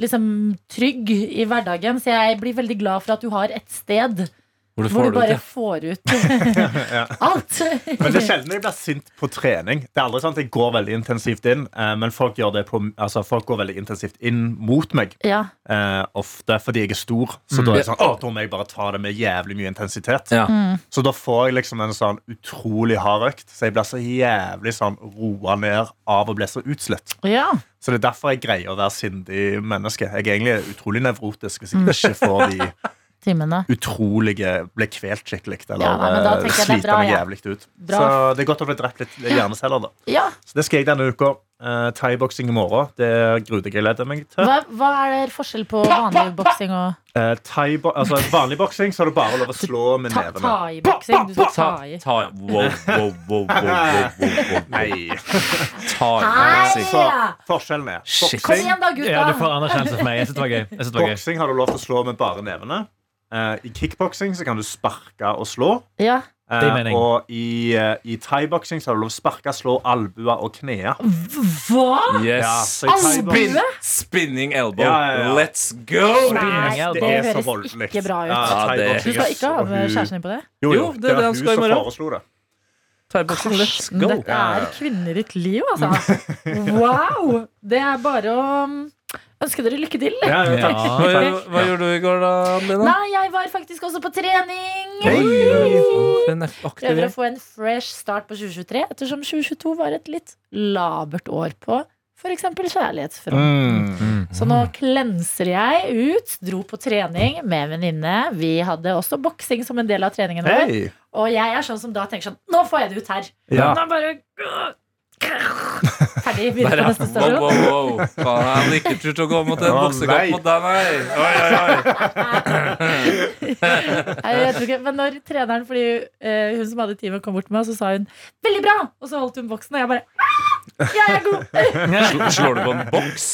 Speaker 2: liksom trygg i hverdagen. Så jeg blir veldig glad for at du har et sted
Speaker 3: Hvor du
Speaker 2: hvor
Speaker 3: får
Speaker 2: du
Speaker 3: det
Speaker 2: bare
Speaker 3: ut,
Speaker 2: får ut alt.
Speaker 4: Men det er sjelden jeg blir sint på trening. Det er aldri sånn at jeg går veldig intensivt inn, eh, men folk, gjør det på, altså, folk går veldig intensivt inn mot meg.
Speaker 2: Ja.
Speaker 4: eh, ofte fordi jeg er stor. Så da er
Speaker 2: Mm.
Speaker 4: jeg sånn, å, da må jeg bare ta det med jævlig mye intensitet.
Speaker 3: ja. Ja.
Speaker 4: Så da får jeg liksom en sånn utrolig hard økt. Så jeg blir så jævlig sånn roa ned av å bli så utslett.
Speaker 2: ja.
Speaker 4: Så det er derfor jeg greier å være sindig menneske. Jeg er egentlig utrolig nevrotisk hvis jeg ikke får de
Speaker 2: Timene.
Speaker 4: utrolige ble kvelt skikkelig eller
Speaker 2: Ja, nei, men da tenker
Speaker 4: eh,
Speaker 2: jeg det er
Speaker 4: sliter
Speaker 2: bra,
Speaker 4: meg
Speaker 2: ja.
Speaker 4: jævlig ut.
Speaker 2: Bra.
Speaker 4: Så det er godt å bli drept litt hjerneceller, da.
Speaker 2: Ja.
Speaker 4: Så det skal jeg denne uka. Eh, Thaiboksing i morgen. Det gruer jeg gleder meg til.
Speaker 2: Hva, hva er det forskjell på vanlig boksing og
Speaker 4: Eh, thai altså, vanlig boksing så er det bare lov å slå med
Speaker 2: ta,
Speaker 4: nevene.
Speaker 2: ta i boksing? Du skal ta i.
Speaker 3: Ta, wow, wow, wow, wow, wow, wow, wow.
Speaker 4: Nei.
Speaker 3: Ta
Speaker 2: Nei.
Speaker 3: i.
Speaker 4: Så forskjellen er
Speaker 3: Shit.
Speaker 2: Kom
Speaker 4: boksing
Speaker 2: igjen, da,
Speaker 5: Ja, du får
Speaker 2: gutta!
Speaker 5: anerkjennelse for meg. Jeg synes det var gøy. Jeg synes det var gøy.
Speaker 4: Boksing har du lov til å slå med bare nevene. Eh, I kickboksing så kan du sparke og slå.
Speaker 2: Ja.
Speaker 4: Eh,
Speaker 5: Det mener jeg.
Speaker 4: og i, uh, i thaiboksing så har du lov til å sparke, slå albuer og knea.
Speaker 2: Hva?
Speaker 4: Ja,
Speaker 3: Yes.
Speaker 4: så i thaiboksing-
Speaker 2: Albue?
Speaker 3: Spinning elbow.
Speaker 4: Ja, ja, ja.
Speaker 3: Let's go!
Speaker 5: Spinning
Speaker 2: Nei, det
Speaker 5: elbow. Det
Speaker 4: er så
Speaker 2: høres
Speaker 4: voldelig.
Speaker 2: ikke bra ut.
Speaker 4: Ja,
Speaker 3: Ja, det-
Speaker 4: thaiboksing
Speaker 2: Du skal
Speaker 4: er
Speaker 2: ikke ha
Speaker 4: så-
Speaker 2: med
Speaker 4: hun-
Speaker 2: kjæresten din på det?
Speaker 4: Jo,
Speaker 3: Jo, det er det
Speaker 4: var
Speaker 3: han
Speaker 4: hun
Speaker 3: skal i
Speaker 4: som
Speaker 3: morgen.
Speaker 4: foreslo det.
Speaker 3: Thaiboksing, let's
Speaker 2: Karsten,
Speaker 3: go.
Speaker 2: dette er kvinner i ditt liv, altså. Wow! Det er bare å um, ønske dere lykke til.
Speaker 4: Ja, ja, takk.
Speaker 5: Ja.
Speaker 3: Hva,
Speaker 4: Takk.
Speaker 3: hva gjorde du i går, da, Adelina?
Speaker 2: Nei, jeg var faktisk også på trening!
Speaker 3: For en
Speaker 2: Prøver
Speaker 3: aktiv
Speaker 2: å få en fresh start på 2023, ettersom 2022 var et litt labert år på f.eks. kjærlighetsfront.
Speaker 4: Mm.
Speaker 2: Så nå klenser jeg ut. Dro på trening med en venninne. Vi hadde også boksing som en del av treningen vår.
Speaker 4: Hei.
Speaker 2: Og jeg er sånn som da tenker sånn Nå får jeg det ut her.
Speaker 4: Ja.
Speaker 2: Nå bare Ferdig.
Speaker 3: Der,
Speaker 2: Videre
Speaker 3: ja.
Speaker 2: på neste
Speaker 3: Wow,
Speaker 2: stasjon.
Speaker 3: wow, wow. Faen, jeg hadde ikke turt å gå mot en
Speaker 4: Å, nei.
Speaker 3: boksekamp mot deg, nei. Oi, oi, oi.
Speaker 2: Nei, jeg tror ikke, men når treneren, fordi eh, hun som hadde teamet, kom bort til meg, så sa hun 'veldig bra', og så holdt hun boksen, og jeg bare «Ah, Jeg er god!
Speaker 3: Slo- Slår du på en boks?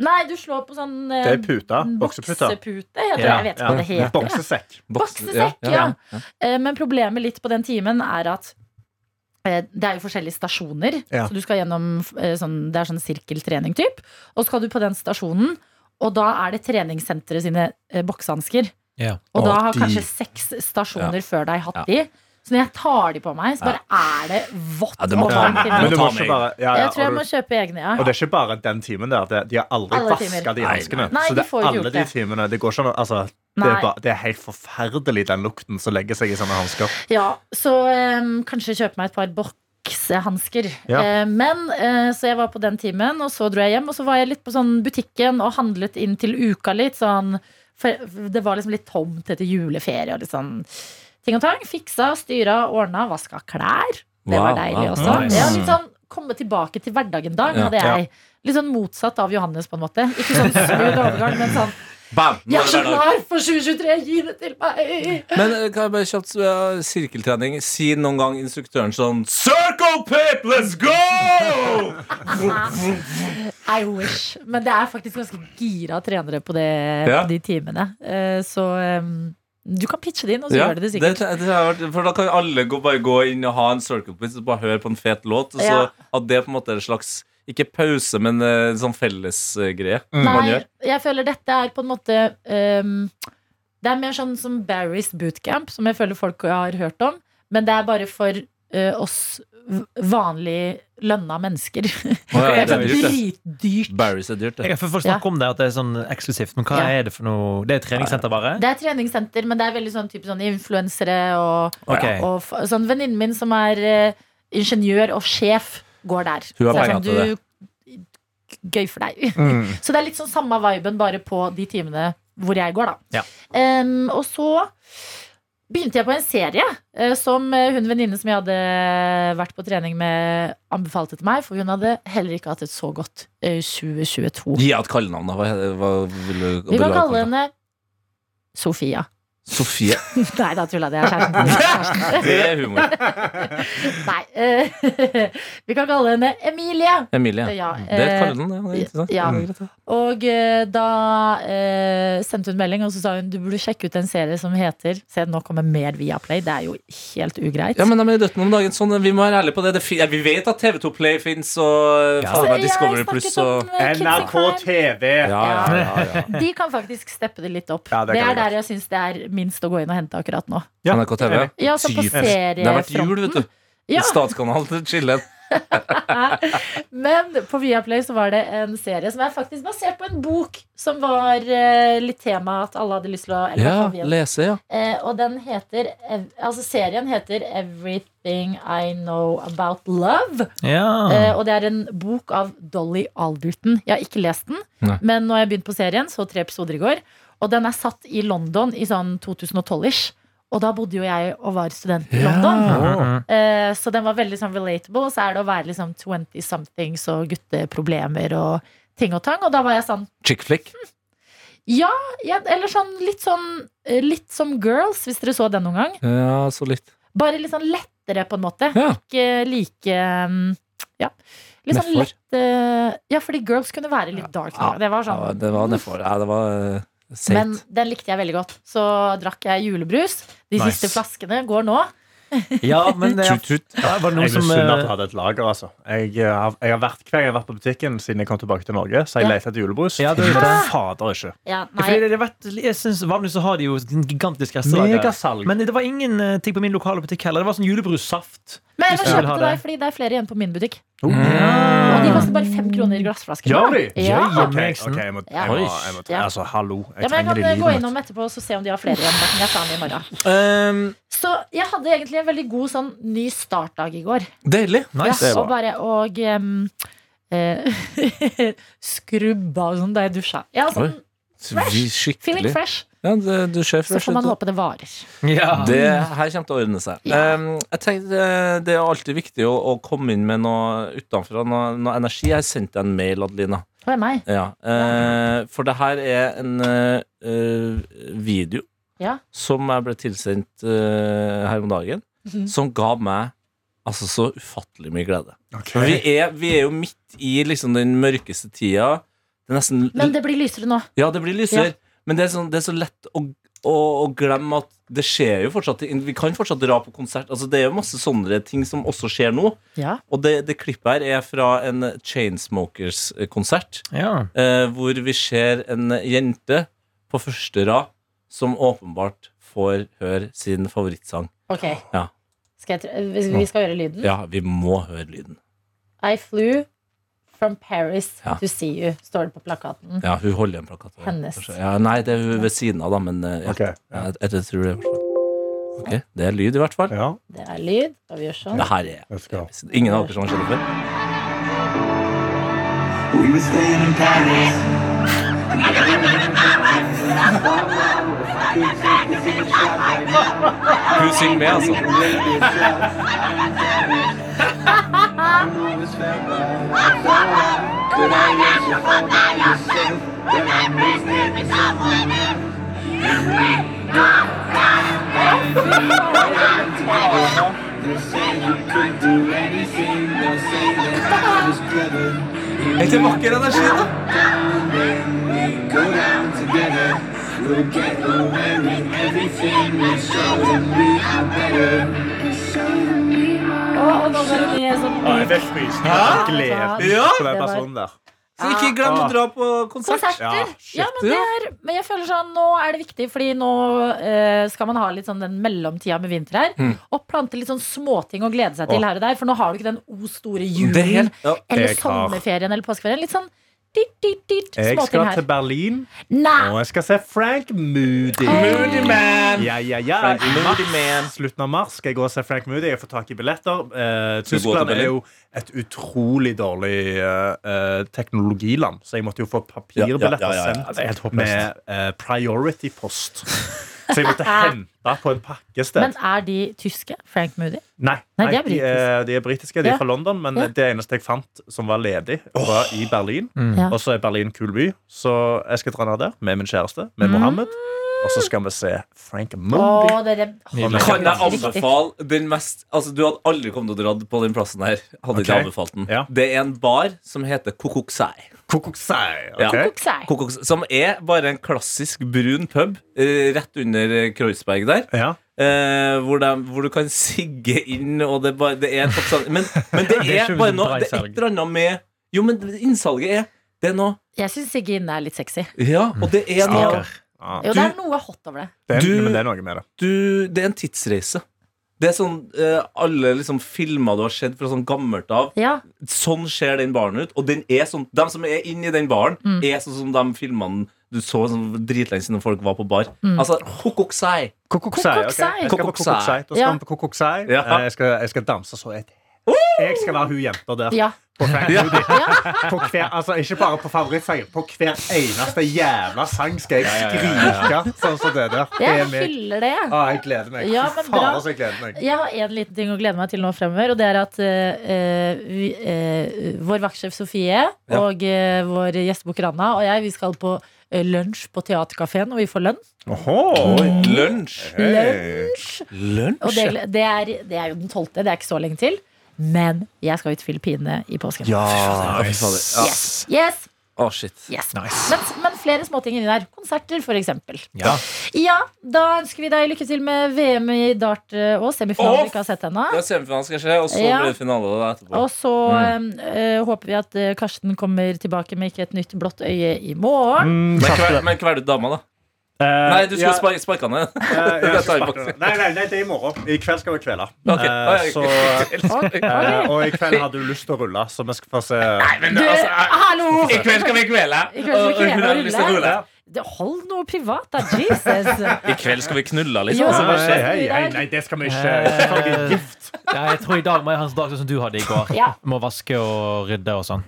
Speaker 2: Nei, du slår på sånn eh,
Speaker 4: Det er puta.
Speaker 2: boksepute.
Speaker 4: Boksepute.
Speaker 2: heter det. Jeg vet ikke hva det heter.
Speaker 4: Boksesekk.
Speaker 2: Boksesekk, ja. Eh, Men problemet litt på den timen er at eh, det er jo forskjellige stasjoner.
Speaker 4: Ja.
Speaker 2: Så du skal gjennom eh, sånn, Det er sånn sirkeltrening typ Og så skal du på den stasjonen, og da er det treningssenteret sine eh, boksehansker.
Speaker 5: Ja.
Speaker 2: Og
Speaker 4: Å,
Speaker 2: da har
Speaker 4: de-
Speaker 2: kanskje seks stasjoner før deg hatt de. Så når jeg tar de på meg, så bare er det vått.
Speaker 3: Ja, det må
Speaker 2: og
Speaker 3: ta-
Speaker 2: varmt inni.
Speaker 3: må
Speaker 4: Men du
Speaker 3: ta
Speaker 4: må
Speaker 3: meg.
Speaker 4: ikke bare ja, ja,
Speaker 2: Jeg tror jeg
Speaker 4: og
Speaker 2: må
Speaker 4: du-
Speaker 2: kjøpe egne, ja.
Speaker 4: Og det er ikke bare den timen der. det- De har aldri
Speaker 2: Alle timer.
Speaker 4: vaska de
Speaker 3: Nei,
Speaker 4: hanskene.
Speaker 2: nei. Nei, de
Speaker 4: Så det
Speaker 2: får jo ikke
Speaker 4: er alle
Speaker 2: gjort
Speaker 4: de
Speaker 2: det.
Speaker 4: timene. Det går ikke an å altså, det,
Speaker 2: Nei.
Speaker 4: er bare, det er helt forferdelig, den lukten som legger seg i sånne hansker.
Speaker 2: Ja, så em, kanskje kjøpe meg et par boksehansker.
Speaker 4: Ja.
Speaker 2: Eh, men eh, Så jeg var på den timen, og så dro jeg hjem. Og så var jeg litt på sånn butikken og handlet inn til uka litt. Sånn, for det var liksom litt tomt etter juleferie og litt sånn ting og tang. Fiksa, styra, ordna, vaska klær. Det
Speaker 3: Wow,
Speaker 2: var deilig
Speaker 3: wow,
Speaker 2: også.
Speaker 5: nice.
Speaker 2: Ja, litt sånn komme tilbake til hverdagen dag,
Speaker 3: Ja.
Speaker 2: hadde jeg. Litt sånn motsatt av Johannes, på en måte. Ikke sånn smooth overgang, men sånn
Speaker 3: Bam! Nå
Speaker 2: Jeg er så
Speaker 3: er det hverdag.
Speaker 2: klar for 2023! Gi det til meg!
Speaker 3: Men eh, kan jeg bare kjapt eh, sirkeltrening Si noen gang instruktøren sånn Circle pip, let's go!
Speaker 2: I wish. Men det er faktisk ganske gira trenere på, det,
Speaker 3: Ja.
Speaker 2: på de timene. Eh, Så em, du kan pitche det inn, og så
Speaker 3: Ja,
Speaker 2: gjør de det
Speaker 3: det,
Speaker 2: sikkert.
Speaker 3: det har vært- for da kan alle gå, bare gå inn og ha en circle pip og bare høre på en fet låt. Og så
Speaker 2: Ja.
Speaker 3: at det på en måte er en slags ikke pause, men eh, sånn fellesgreie man
Speaker 2: Nei,
Speaker 3: gjør.
Speaker 2: jeg føler dette er på en måte em, Det er mer sånn som Barry's bootcamp, som jeg føler folk har hørt om. Men det er bare for eh, oss v- vanlig lønna mennesker.
Speaker 3: ja,
Speaker 2: det
Speaker 3: det er
Speaker 2: er sånn
Speaker 3: dyrt, det.
Speaker 2: dritdyrt.
Speaker 3: Barry's er dyrt, det.
Speaker 5: Jeg har folk snakke om det, at det er sånn eksklusivt. Men hva
Speaker 2: Ja.
Speaker 5: er det for noe? Det er et treningssenter, bare?
Speaker 2: Det er treningssenter, men det er veldig sånn type sånn influensere og,
Speaker 5: Ok.
Speaker 2: og f- sånn venninnen min som er eh, ingeniør og sjef, går der.
Speaker 3: Hun
Speaker 2: Så
Speaker 3: har
Speaker 2: det er
Speaker 3: penger til Mm.
Speaker 2: sånn, du, Gøy for deg. Så det er litt sånn samme viben, bare på de timene hvor jeg går, da.
Speaker 5: Ja.
Speaker 2: Em, og så begynte jeg på en serie eh, som eh, hun venninnen som jeg hadde eh, vært på trening med, anbefalte til meg. For hun hadde heller ikke hatt et så godt eh, 2022.
Speaker 3: Gi henne et kallenavn, da. Hva, hva vil du
Speaker 2: Vi kan kalle henne Sofia.
Speaker 3: Sofie.
Speaker 2: Nei, da tulla jeg. Det er kjæresten. Det er kjæresten.
Speaker 3: Det er humor.
Speaker 2: Nei. eh, vi kan kalle henne Emilie.
Speaker 3: Emilie.
Speaker 2: Ja,
Speaker 3: det er et
Speaker 2: eh,
Speaker 3: kallenavn, ja. Det er interessant.
Speaker 2: ja.
Speaker 3: Det er greit, ja.
Speaker 2: Og eh, da eh, sendte hun melding, og så sa hun du burde sjekke ut en serie som heter Se, nå kommer mer Viaplay. Det er jo helt ugreit.
Speaker 3: Ja, men de er i døtten om dagen. Sånn, vi må være ærlige på det. det fin- ja, vi vet at TV2 Play fins, og eh,
Speaker 5: Ja.
Speaker 3: faen meg Discovery
Speaker 2: Jeg snakket
Speaker 3: Pluss
Speaker 2: om,
Speaker 3: og
Speaker 2: eh, Kids in
Speaker 4: NRK
Speaker 2: Crime.
Speaker 4: TV.
Speaker 3: ja, ja, ja, ja.
Speaker 2: De kan faktisk steppe det litt opp.
Speaker 4: Ja, det
Speaker 2: det,
Speaker 4: kan
Speaker 2: er
Speaker 4: de
Speaker 2: der jeg syns det er minst å gå inn og hente akkurat nå.
Speaker 4: Ja.
Speaker 3: NRK TV.
Speaker 2: Ja, så på
Speaker 3: Sykt. Det har vært jul, vet
Speaker 2: seriefronten.
Speaker 3: du.
Speaker 2: Ja,
Speaker 3: Statskanal til chillen.
Speaker 2: men på Viaplay så var det en serie som er faktisk basert på en bok som var eh, litt tema at alle hadde lyst til å eller
Speaker 3: Ja,
Speaker 2: hva vi hadde-
Speaker 3: lese, ja.
Speaker 2: Eh, og den heter ev- Altså serien heter Everything I Know About Love. Eh,
Speaker 5: Ja.
Speaker 2: og det er en bok av Dolly Alderton. Jeg har ikke lest den,
Speaker 3: Nei.
Speaker 2: men nå har jeg begynt på serien, så tre episoder i går. Og den er satt i London i sånn 2012-ish. Og da bodde jo jeg og var student i London.
Speaker 5: Mhm.
Speaker 2: Eh, så den var veldig sånn relatable. Og så er det å være liksom 20-somethings og gutteproblemer og ting og tang. Og da var jeg sånn
Speaker 3: Chick flick.
Speaker 2: Ja! Jeg, eller sånn litt sånn eh, Litt som Girls, hvis dere så den noen gang.
Speaker 3: Ja, så litt.
Speaker 2: Bare litt sånn lettere, på en måte.
Speaker 3: Ja.
Speaker 2: Ikke like mm, Ja. Litt sånn
Speaker 3: Nedfor.
Speaker 2: lett eh, Ja, fordi Girls kunne være litt dark. nå.
Speaker 3: Ja.
Speaker 2: Det var
Speaker 3: Ja,
Speaker 2: sånn
Speaker 3: det var nedfor. Ja, det var eh,
Speaker 2: Men
Speaker 3: seigt.
Speaker 2: den likte jeg veldig godt. Så drakk jeg julebrus. De
Speaker 5: Nice.
Speaker 2: siste flaskene går nå.
Speaker 5: Ja, men eh,
Speaker 3: Tut-tut.
Speaker 5: ja, var det noen
Speaker 4: Jeg
Speaker 5: som
Speaker 4: misunner at du
Speaker 5: eh,
Speaker 4: hadde et lager, altså. Jeg, eh, har- jeg har vært hver gang jeg har vært på butikken siden jeg kom tilbake til Norge, så jeg
Speaker 2: Ja.
Speaker 4: leter etter julebrus.
Speaker 5: Ja, det er
Speaker 4: Finner
Speaker 5: det.
Speaker 4: Fader ikke.
Speaker 2: Ja,
Speaker 5: fordi
Speaker 2: nei.
Speaker 5: det, det har vært, jeg synes, Vanligvis så har de jo en gigantisk restaurant.
Speaker 4: Megasalg.
Speaker 5: Men det var ingenting på min lokale butikk heller. Det var sånn julebrussaft.
Speaker 2: Men jeg
Speaker 5: Hvis du vil
Speaker 2: kjøpte
Speaker 5: ha
Speaker 2: deg,
Speaker 5: det.
Speaker 2: fordi det er flere igjen på min butikk.
Speaker 5: Mm. Ja.
Speaker 2: Og de koster bare fem kroner i glassflasker.
Speaker 4: Gjør de?
Speaker 2: Ja.
Speaker 5: Ja,
Speaker 4: Ok,
Speaker 5: Jemmeksen.
Speaker 4: ok, jeg må,
Speaker 2: Ja.
Speaker 4: jeg må, jeg må,
Speaker 2: Ja.
Speaker 4: altså, hallo.
Speaker 2: Ja, men jeg
Speaker 4: Jeg trenger
Speaker 2: kan
Speaker 4: det
Speaker 2: eh, gå
Speaker 4: i livet mitt.
Speaker 2: innom etterpå og så se om de har flere igjen. da kan Jeg ta den i morgen.
Speaker 3: Um,
Speaker 2: Så jeg hadde egentlig en veldig god sånn ny startdag i går.
Speaker 3: deilig.
Speaker 5: Nice.
Speaker 2: Ja, og bare og em, eh, skrubba og sånn da jeg dusja. Ja, sånn
Speaker 3: Vi
Speaker 2: feeling
Speaker 3: skikkelig.
Speaker 2: fresh.
Speaker 3: Ja, det, du ser
Speaker 2: Så
Speaker 3: fresh
Speaker 2: får man
Speaker 3: ut.
Speaker 2: håpe det varer.
Speaker 5: Ja.
Speaker 3: Det her kommer til å ordne seg.
Speaker 2: Ja.
Speaker 3: Um, jeg tenkte eh, Det er alltid viktig å, å komme inn med noe utenfra, noe, noe energi. Jeg sendte deg en mail, Adelina.
Speaker 2: Det er meg.
Speaker 3: Ja, eh, for det her er en eh, eh, video
Speaker 2: Ja.
Speaker 3: som jeg ble tilsendt eh, her om dagen,
Speaker 2: Mhm.
Speaker 3: som ga meg altså så ufattelig mye glede. For
Speaker 4: Ok.
Speaker 3: vi er, vi er jo midt i liksom den mørkeste tida. Det er nesten
Speaker 2: Men det blir lysere nå.
Speaker 3: Ja, det blir lysere.
Speaker 2: Ja.
Speaker 3: Men det er, sånn, det er så lett å, å, å glemme at det skjer jo fortsatt ting. Vi kan fortsatt dra på konsert. Altså, det er jo masse sånne ting som også skjer nå.
Speaker 2: Ja.
Speaker 3: Og det, det klippet her er fra en Chainsmokers-konsert
Speaker 5: Ja.
Speaker 3: eh, hvor vi ser en jente på første rad som åpenbart får høre sin favorittsang.
Speaker 2: Ok.
Speaker 3: Ja.
Speaker 2: Skal jeg, tr- eh, vi- vi skal gjøre lyden.
Speaker 3: Ja, vi må høre lyden.
Speaker 2: I flew from Paris
Speaker 3: Ja.
Speaker 2: to see you, står det på plakaten.
Speaker 3: Ja, hun holder en plakat. over.
Speaker 2: Hennes.
Speaker 3: Ja, nei, det er hun ved siden av, da, men eh, ja.
Speaker 4: Ok,
Speaker 3: Ja,
Speaker 4: ja.
Speaker 3: jeg, jeg tror det er Ok, det er lyd i hvert fall.
Speaker 4: Ja,
Speaker 2: Det er lyd. Og vi gjør sånn.
Speaker 3: Det her er
Speaker 4: let's go.
Speaker 3: Ingen av dere som har skjedd det før?
Speaker 6: We were staying in Paris.
Speaker 3: Hun synger med, altså. Helt vakker energi, da.
Speaker 6: Go down together. We'll get over everything and show them we are better. Show them we are.
Speaker 2: Å, og nå går det ned sånn
Speaker 4: Å, jeg
Speaker 2: lyd.
Speaker 4: fikk frysninger av glede
Speaker 3: Ja.
Speaker 4: på
Speaker 2: Det
Speaker 4: den
Speaker 2: var-
Speaker 4: personen der.
Speaker 3: Så ikke glem å dra på konsert.
Speaker 4: Ja,
Speaker 2: Konserter.
Speaker 4: shit,
Speaker 2: Ja, men, det er, men jeg føler sånn, nå er det viktig, fordi nå eh, skal man ha litt sånn den mellomtida med vinter her. Og plante litt sånn småting å glede seg til
Speaker 4: Mm. Åh.
Speaker 2: her og der, for nå har du ikke den o store
Speaker 3: Det er
Speaker 2: julen
Speaker 3: helt ja.
Speaker 2: eller
Speaker 4: Jeg har-
Speaker 2: sommerferien eller påskeferien. Litt sånn dit, dit, dit,
Speaker 4: Jeg
Speaker 2: småting
Speaker 4: skal
Speaker 2: her.
Speaker 4: til Berlin,
Speaker 2: Nei!
Speaker 4: og jeg skal se Frank Moody.
Speaker 3: Ah. Moody man!
Speaker 4: Ja, ja, ja.
Speaker 3: Frank
Speaker 4: I mars,
Speaker 3: Moody Man.
Speaker 4: Slutten av mars skal jeg gå og se Frank Moody. Jeg får tak i billetter. Eh,
Speaker 3: Skal du gå til
Speaker 4: Tyskland er
Speaker 3: Berlin?
Speaker 4: jo et utrolig dårlig eh, eh, teknologiland, så jeg måtte jo få
Speaker 3: Ja, ja,
Speaker 4: papirbilletter
Speaker 3: ja, ja, ja.
Speaker 4: sendt med eh, priority post. Så jeg måtte hente på en pakkested.
Speaker 2: Men er de tyske? Frank Moody?
Speaker 4: Nei,
Speaker 2: Nei, de er
Speaker 4: de, er, de er britiske. De er
Speaker 2: Ja.
Speaker 4: fra London, men
Speaker 2: Ja.
Speaker 4: det eneste jeg fant som var ledig, var i Berlin.
Speaker 2: Ja.
Speaker 4: Mm. Og så er Berlin en kul by, så jeg skal dra ned der med min kjæreste,
Speaker 2: Mm.
Speaker 4: med Mohammed. Og så skal vi se Frank Moody.
Speaker 2: Å, dere
Speaker 4: Nydelig.
Speaker 3: Kan jeg
Speaker 2: Riktig.
Speaker 3: anbefale den mest Altså, Du hadde aldri kommet til å dra på den plassen her. Hadde ikke
Speaker 4: Ok.
Speaker 3: anbefalt den
Speaker 4: Ja.
Speaker 3: Det er en bar som heter Kokoksei.
Speaker 4: Kokoksei.
Speaker 3: Ja.
Speaker 4: ok?
Speaker 2: Koksei.
Speaker 3: Kokoksei, Som er bare en klassisk brun pub eh, rett under eh, Kreuzberg der.
Speaker 4: Ja.
Speaker 3: Eh, hvor, dem- hvor du kan sigge inn, og det, bare, det er et oppsalg men, men det
Speaker 5: Det er
Speaker 3: er
Speaker 5: ikke bra
Speaker 3: bare noe Det er
Speaker 5: innsalg.
Speaker 3: et eller annet med Jo, men innsalget er Det er noe
Speaker 2: Jeg syns Sigge Inn er litt sexy.
Speaker 3: Ja, og det er noe
Speaker 2: Ja.
Speaker 4: Ja.
Speaker 2: Jo,
Speaker 3: Du-
Speaker 2: det er noe hot over det.
Speaker 4: Det, er,
Speaker 3: Du-
Speaker 4: men det er noe med det.
Speaker 3: du, Det er en tidsreise. Det er sånn eh, Alle liksom filmer du har sett fra sånn gammelt av,
Speaker 2: Ja,
Speaker 3: sånn ser den baren ut. Og den er sånn, de som er inni den baren, er sånn som de filmene du så sånn dritlenge siden folk var på bar. Altså, kokoksei.
Speaker 4: Kokoksei. ok.
Speaker 2: Kokoksei.
Speaker 4: Jeg skal på
Speaker 3: Kokoksei.
Speaker 4: Kokoksei. Da skal
Speaker 2: Ja.
Speaker 4: vi på Kokoksei.
Speaker 3: Ja.
Speaker 4: Eh, Jeg, skal- jeg skal danse så et Jeg skal være hun jenta der.
Speaker 2: ja.
Speaker 4: På Frank Moody. På hver, altså, ikke bare på favorittsangen. På hver eneste jævla sang skal jeg skrike sånn som det der. Det
Speaker 2: Jeg
Speaker 4: er meg.
Speaker 2: hyller det.
Speaker 4: Å, jeg gleder meg.
Speaker 2: Ja,
Speaker 4: Fy
Speaker 2: men
Speaker 4: altså.
Speaker 2: bra.
Speaker 4: Fader, så jeg gleder meg.
Speaker 2: Jeg har en liten ting å glede meg til nå fremover, og det er at eh, vi, eh, vår vaktsjef Sofie og eh, vår gjestebukker Anna og jeg, vi skal på eh, lunsj på Theatercaféen, og vi får lønn.
Speaker 4: Oho.
Speaker 3: Lunsj.
Speaker 2: Lunsj! Og det,
Speaker 3: Lunsj.
Speaker 2: det, er, det er jo den tolvte, det er ikke så lenge til. Men jeg skal ut til Filippinene i påsken.
Speaker 3: Ja, fy fader. Ja.
Speaker 2: Yes, yes,
Speaker 3: Å, shit.
Speaker 2: yes.
Speaker 5: Nice.
Speaker 2: Men, men flere småting inni der. Konserter, for eksempel.
Speaker 5: Ja.
Speaker 2: Ja, da ønsker vi deg lykke til med VM i dart eh, og semifinalen
Speaker 3: Å,
Speaker 2: vi ikke har sett ennå.
Speaker 3: Ja, Semifinalen skal skje, og så
Speaker 2: Ja.
Speaker 3: blir det finale da etterpå.
Speaker 2: Og så
Speaker 3: Mm.
Speaker 2: eh, håper vi at eh, Karsten kommer tilbake med ikke et nytt blått øye i morgen.
Speaker 3: Men Eh, hver- Men hver du dama, da? Nei, du skulle sparke, sparke han ned.
Speaker 4: jeg skal
Speaker 3: Dette er i
Speaker 4: sparke det. Nei, nei, nei, det er i morgen. I kveld skal vi kvele.
Speaker 3: Ok.
Speaker 4: Eh, Så,
Speaker 2: Ok.
Speaker 4: eh, og i kveld hadde du lyst til å rulle, så vi skal få se.
Speaker 2: Du, eh, hallo!
Speaker 3: altså, eh, I kveld skal vi kvele!
Speaker 2: I kveld skal vi
Speaker 3: Og- og hun
Speaker 2: kvele
Speaker 3: har
Speaker 2: og
Speaker 3: lyst til å
Speaker 2: rulle.
Speaker 3: rulle.
Speaker 2: Det- Hold noe privat, da. Jesus.
Speaker 3: I kveld skal vi knulla,
Speaker 2: Jo.
Speaker 3: liksom.
Speaker 4: Så bare,
Speaker 2: Nei,
Speaker 4: hei, hei, hei,
Speaker 2: nei.
Speaker 4: nei, det skal vi ikke. Folk er
Speaker 5: Eh,
Speaker 4: gift.
Speaker 5: ja, jeg tror i dag må jeg ha en dag sånn som du hadde i går.
Speaker 2: Ja.
Speaker 5: Må vaske og rydde og sånn.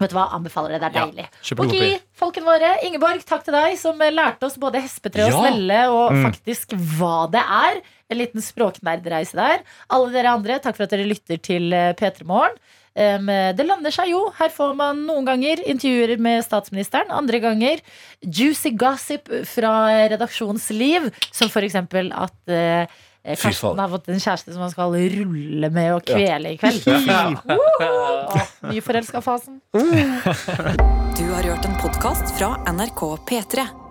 Speaker 2: Vet du hva, anbefaler det. Det er
Speaker 5: Ja,
Speaker 2: deilig.
Speaker 5: kjempegodt.
Speaker 2: Ok, folkene våre. Ingeborg, takk til deg som eh, lærte oss både hespetre og
Speaker 3: Ja.
Speaker 2: snelle, og faktisk hva det er. En liten språknerdreise der. Alle dere andre, takk for at dere lytter til eh, P3 Morgen. Em, eh, det lander seg jo. Her får man noen ganger intervjuer med statsministeren. Andre ganger juicy gossip fra redaksjonsliv, som for eksempel at eh, Karsten
Speaker 3: faen.
Speaker 2: har fått en kjæreste som han skal rulle med og kvele i kveld. Woo! Nyforelska-fasen.
Speaker 1: Du har hørt en podkast fra NRK P3.